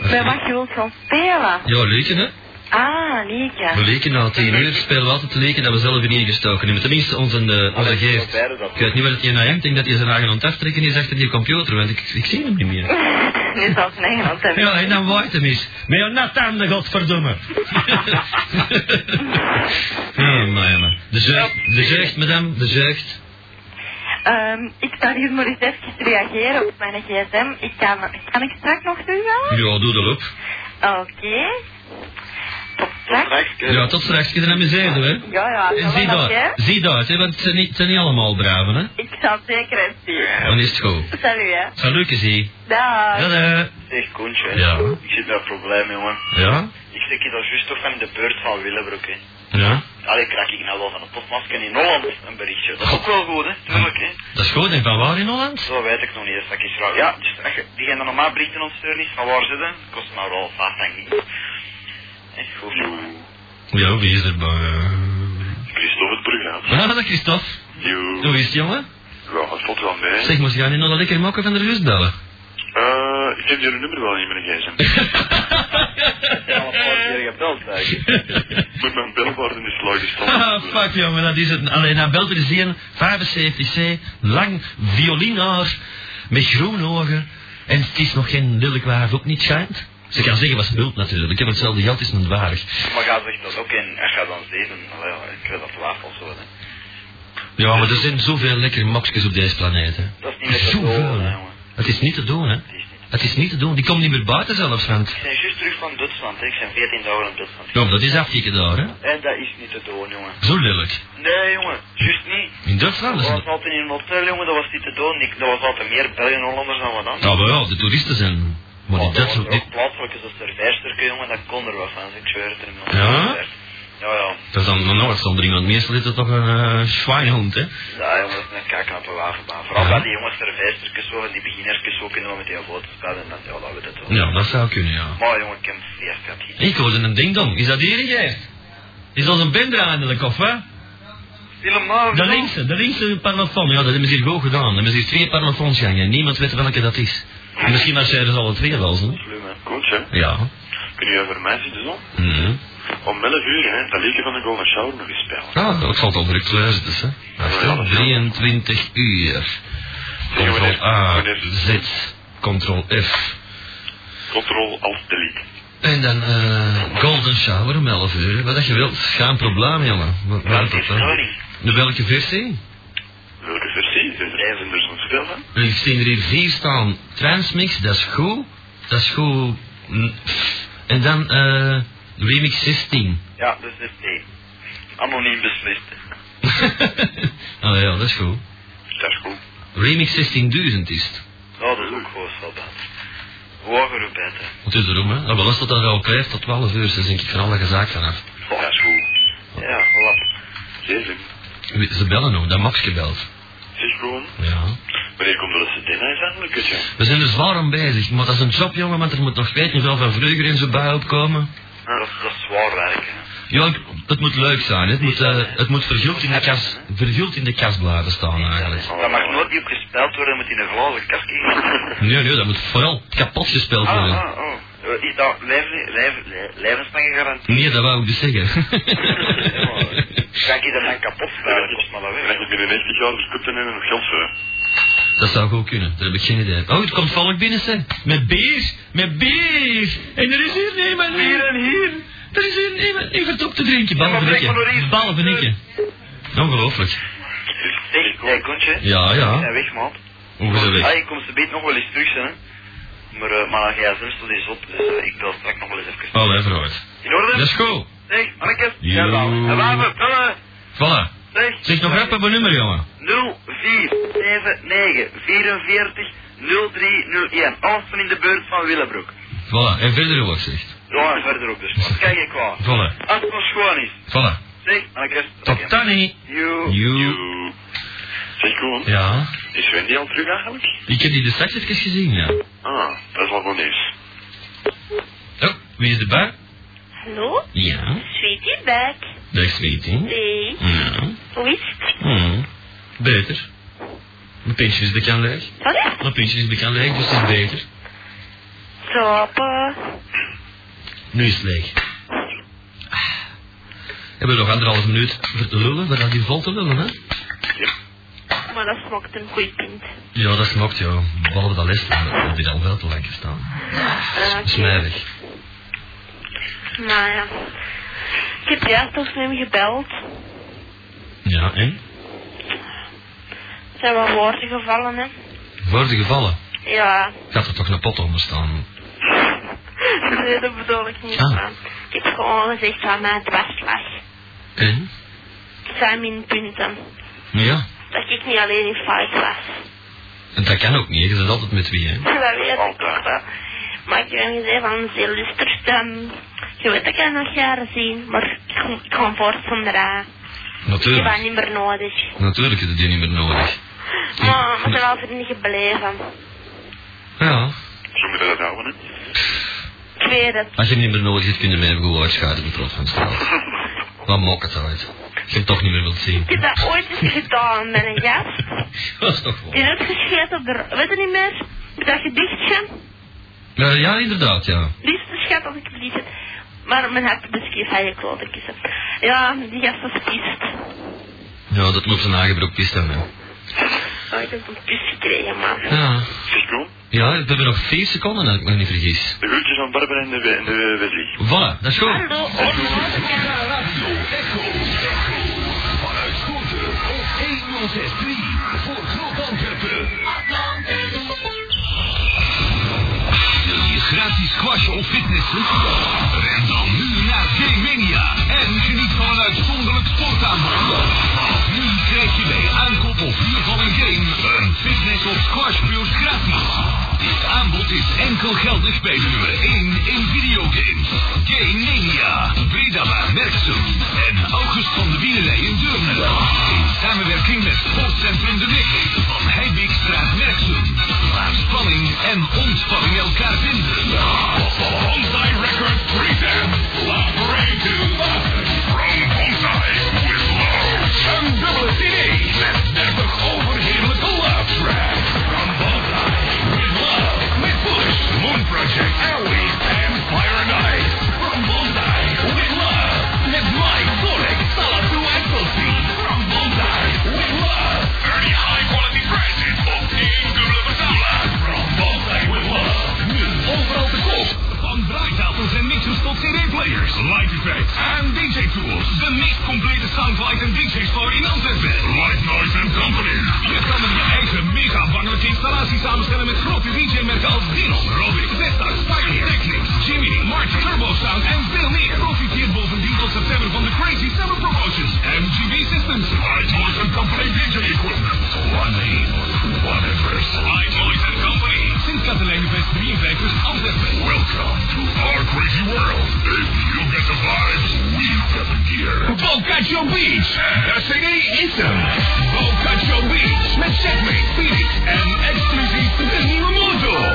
G: Met wat je wilt gaan spelen.
E: Ja, leken hè?
G: Ah, Lieke.
E: We leken na tien uur, spelen we altijd leken dat we zelf in ingestoken hebben. Tenminste, onze, eh, onze geest. Ik weet niet wat het hier naar hem denkt, dat hij zijn eigen aan het aftrekken is achter die computer, want ik, ik zie hem niet meer.
G: Nu zal ik in Engeland hebben.
E: Ja, en dan waait hem eens. Met jouw nat aan de godverdomme. Ja, maar ja, maar. Oh, De zucht, de zucht, madame, de zucht.
G: Ehm, ik zal hier maar eens even reageren op mijn gsm. Ik kan, kan ik straks nog doen, wel?
E: Ja, doe dat op.
G: Oké. Tot straks.
E: Ja, tot straks, je bent aan mijn zijde, hè.
G: Ja, ja.
E: En
G: dat
E: zie
G: wel,
E: daar,
G: hè.
E: zie daar, hè, want het zijn niet, het zijn niet allemaal braven, hè.
G: Ik zal zeker eens zien.
E: Dan is het goed.
G: Salut, hè.
E: Salut, zie.
G: Dag.
E: Hallo.
H: Zeg, Koentje, hè.
E: Ja.
H: ik zit met een probleem, jongen.
E: Ja?
H: Ik stik je dat juist toch van de beurt van Willebroek, hè.
E: Ja.
H: Allee, krijg ik nou wel van een postmasker in Holland een berichtje. Dat is ook wel goed, hè. Tuurlijk, hè.
E: Dat is goed, en van waar in Holland?
H: Zo weet ik nog niet, eens dat is raar. Ja, dus als je- die gaan dan normaal berichten ontsturen is, van waar zitten? Kost maar wel vaak, denk ik. Echt goed, jongen.
E: Ja, wie is er bij? eh?
H: Christophe het Brugnaat.
E: Ah, dat is Christophe.
H: Jo.
E: Hoe is het, jongen?
H: Ja, dat valt wel mee.
E: Zeg, moest je niet nog dat lekker mokken van de rust bellen?
H: Eh, ik heb jullie nummer wel niet meer gegeven. Ik heb al een paar keer gebeld, eigenlijk. Met mijn belbord in de slag
E: Ah, fuck, jongen, dat is het. Alleen aan Belter is één, 75C, lang violinaar, met groene ogen. En het is nog geen lelijk waar het ook niet schijnt. Ze kan zeggen wat ze wil, natuurlijk. Ik heb hetzelfde geld, is niet waardig.
H: Maar ga zegt dat ook in, en ga dan zeven. Allee, ja, ik weet dat laag of zo, hè.
E: Ja, maar er zijn zoveel lekkere mokjes op deze planeet, hè.
H: Dat is niet met de
E: Zoveel,
H: doel,
E: hè.
H: hè, jongen.
E: Het is niet te doen, hè.
H: Het is niet.
E: Het is niet te doen. Die komt niet meer buiten zelfs, want...
H: Ik ben juist terug van Duitsland, hè. Ik ben 14 dagen in Duitsland.
E: Ja, maar dat is afgekeken daar, hè.
H: En dat is niet te doen, jongen.
E: Zo lelijk.
H: Nee, jongen, juist niet.
E: In Duitsland
H: Dat
E: is het...
H: was altijd in een hotel, jongen, dat was niet te doen. Ik, dat was altijd meer Belgen en Hollanders dan wat dan.
E: Nou, maar ja, de toeristen zijn... Maar die
H: dat was
E: Duitsers...
H: er
E: die-
H: ook plaatselijk is dat serveersterke, jongen, dat kon er wat van. Ik zweer het er nog.
E: Ja?
H: Ja, ja.
E: Dat is dan een Noordzondering, want meestal is dat toch een eh, zwijnhond, hè.
H: Ja, jongen, dat is een kakknappe wagenbaan. Vooral
E: Ja.
H: bij die jongens serveersterkes zo, en die beginnerskes zo kunnen we met die foto's spelen. En dan, ja, dat weet het wel.
E: Ja, dat zou kunnen, ja.
H: Maar jongen, ik heb eerst dat hier.
E: Ik hoorde een ding-dong. Is dat hier, Geert? Is dat een bender eindelijk, of hè?
H: Helemaal
E: De linkse, de linkse parlofoon. Ja, dat hebben ze hier goed gedaan. Er hebben ze hier twee parlofoons gangen. Niemand weet welke dat is. En misschien marcheren ze alle twee wel, zo.
H: Goed, hè.
E: Ja.
H: Kun je voor mij zitten zo?
E: Mhm.
H: Om 11 uur, hè, dat liedje van de Golden Shower nog eens spelen.
E: Ah, dat valt onder de kluis dus, hè. Wacht,
H: Ja, dat
E: hè.
H: is
E: 23 uur. Oh,
H: wanneer-
E: Ctrl A,
H: wanneer is
E: Z, Ctrl F.
H: Control alt delete.
E: En dan eh Golden Shower om 11 uur. Wat dat je wilt, geen probleem, jongen. Wat, wat is dat dan? De welke versie?
H: Welke versie? De reizenders van spelen?
E: Ik zie er hier vier staan. Transmix, dat is goed. Dat is goed. Mm. En dan eh Remix 16.
H: Ja, dat is nee. Anoniem beslist.
E: oh ja, dat is goed.
H: Dat is goed.
E: Remix 16.000 is het.
H: Ja, dat is ook gewoon zo bad. Hoe hoger hoe beter.
E: Het is erom, hè. Nou, wel als dat dan al krijgt tot 12 uur, dan denk ik van alle gezaak vanaf.
H: Dat is goed. Ja, voilà. Zeven.
E: Ze bellen nog, dat Max gebeld.
H: Zeg gewoon,
E: Ja.
H: we
J: Wanneer komt de Sedena eens aan, Lucas, jong?
K: We zijn er zwaar aan bezig, maar dat is een job, jongen, want er moet nog weet niet veel van vroeger in zijn bij opkomen.
J: Ja, Dat, dat is zwaar werk, hè.
K: Ja, ik- het moet leuk zijn. hè. Het moet, eh, het moet verguld, in de kas, verguld in de kas blijven staan, eigenlijk.
J: Oh,
H: Dat mag
J: oh,
H: nooit niet opgespeld worden, moet in een glazen kast kijken.
K: Nee, nee, dat moet vooral kapot gespeeld
H: Ah,
K: worden.
H: ah, oh. Eh, Is dat lijf- lijf- lijf- levenslange garantie?
K: Nee, dat wou ik dus zeggen.
H: Ga ik je dat dan kapot
J: Ja,
H: spelen?
J: dat
H: Kost maar dat
J: Ik
H: weg.
J: ben binnen 90 jaar verkopt en in een geld voor.
K: dat zou goed kunnen, daar heb ik geen idee. Oh, het komt volk binnen, zeg. Met bier, met bier. En er is hier niemand meer.
H: en hier.
K: Er is hier niemand. Ik vertop te drinken,
H: Ja,
K: ballen
H: maar blijkbaar door
K: benikken.
H: hier.
K: Ballen benikken. Ongelooflijk.
H: Dus, Zeg, jij kontje?
K: Ja,
H: Ja,
K: ja.
H: weg, man.
K: Hoe is dat
H: Ah,
K: weg?
H: ik kom ze beet nog wel eens terug, hè. Maar, eh, maar dan ga jij zelfs tot die zot, dus eh, ik bel straks nog wel eens even.
K: Allee, vooruit.
H: In orde?
K: Dat is goed.
H: Zeg, Annekes.
K: Yo.
H: Ja, dan. En wapen, tellen.
K: Voilà.
H: Zeg.
K: Zeg nog rap op mijn nummer, jongen.
H: 0479 44 0301. Alles van in de buurt van Willebroek.
K: Voilà. En verder ook, zegt.
H: Ja, en verder ook dus. maar Kijk ik wel.
K: Voilà.
H: Als het nog schoon is.
K: Voilà.
H: Zeg, Annekes.
K: Tot dan, hè.
H: Joe.
K: Joe.
J: Joe. Zeg, Koen,
K: Ja.
J: is Wendy al terug eigenlijk?
K: Ik heb die de straks even gezien, ja.
J: Ah, dat is wel goed nieuws.
K: Oh, wie is erbij?
G: Hallo?
K: Ja.
G: Sweetie back.
K: Dag, sweetie.
G: Hey.
K: Ja.
G: Hoe is het?
K: Hmm. Beter. Mijn pintje is bekend leeg.
G: Wat is het?
K: Mijn pintje is bekend leeg, dus het is beter.
G: Toppen.
K: Nu is het leeg. Ah. Hebben we nog anderhalf minuut voor te lullen, maar dat die vol te lullen, hè?
G: Maar dat smaakt een goeie pint.
K: Ja, dat smaakt, ja. Behalve dat les, dat heb je al wel te lang gestaan.
G: Ah,
K: Smijdig.
G: Maar ja. Ik heb juist nog hem gebeld.
K: Ja, en?
G: Er zijn wat woorden gevallen, hè.
K: Voor de gevallen
G: Ja.
K: gaat er toch een pot onder staan.
G: Nee, dat bedoel ik niet.
K: Ah.
G: maar Ik heb gewoon gezegd wat mij dwars lag.
K: En?
G: Het zijn mijn punten.
K: Ja.
G: Dat ik niet alleen in fout was.
K: En dat kan ook niet, je bent altijd met wie, hè?
G: Dat weet ik ook wel. Maar ik heb gezegd van, ze lustert, ehm, je weet dat ik haar nog jaren zien, maar ik, ik ga voort zonder haar. Ik heb haar
K: Natuurlijk.
G: niet meer nodig.
K: Natuurlijk heb je die niet meer nodig.
G: Maar we zijn wel vrienden gebleven.
K: Ja.
J: Zo moet je dat houden, hè.
G: Ik weet het.
K: Als je hem niet meer nodig hebt, kun je mij even goed uitschakelen met Rot van Straat. Dan mok het uit. Als je hem toch niet meer wilt zien.
G: Ik heb dat ooit eens gedaan met een gast.
K: Dat is toch wel.
G: Die heeft gescheten op de... ra- Weet je niet meer? Dat gedichtje.
K: Eh, ja, inderdaad, ja.
G: Liefste schat als ik het liefde. Maar men had dus geen van je kloten kiezen. Ja, die gast was pist.
K: Ja, dat moet zijn aangebroken pist hebben. hè.
G: Oh, ik heb een pist gekregen, man.
K: Ja.
J: Zeg, Koen,
K: Ja, we hebben nog 4 seconden, als ik me niet vergis.
J: de groetjes van Barbara en de, We- en de Wesley.
K: Voilà, dat is goed.
G: Hallo, onnodige.
E: Vanuit Groenten op 1063 voor Groot Antwerpen. Wil je gratis squashen of fitnessen? Ren dan nu naar Game Mania en geniet van een uitzonderlijk sportaanbod. Want nu krijg je bij aankoop of huur van een game een fitness of squashbeurt gratis. Dit aanbod is enkel geldig bij nummer 1 in videogames. Game Mania, Breda van Merksum en August van de Wielerij in Deurne. In samenwerking met Sportcentrum De Wijk van Heijbeekstraat Merksum. Waar spanning en ontspanning elkaar vinden. Bonsai Records presents Love Parade to Love. From Bonsai with Love. Een dubbele CD met 30 overheerlijke love tracks. From Bonsai with Love. Met Bush, Moon Project, Airways en Fire and Ice. From Bonsai with Love. Met Mike, Sonic, Salatu en Tulsi. From Bonsai with Love. 30 high quality prices op één dubbele betalen. From Bonsai with Love. Nu overal te koop. Van draaitafels en mixers tot CD-players, light effects en DJ-tools. De meest complete soundlight en DJ-store in Antwerpen. Light Noise and Company. Je kan er je eigen mega bangelijke installatie samenstellen met grote DJ-merken als Dino, Robic, Vestas, Pioneer, Technics, Jimmy, Martin, Turbo Sound en veel meer. Profiteer bovendien tot september van de Crazy Summer Promotions. MGB Systems. Light Noise and Company DJ Equipment. One name, one address. Light Noise and Company. Sint-Katelijnenweg 3 Greenbakers Antwerpen. Welcome to our crazy world. If you get the vibes, we get the gear. Bocaccio Beach. De CD Anthem. Bocaccio Beach. Met Checkmate, Phoenix en exclusief de nieuwe motor.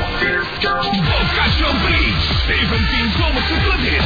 E: Bocaccio Beach. 17 zomerse clubhits.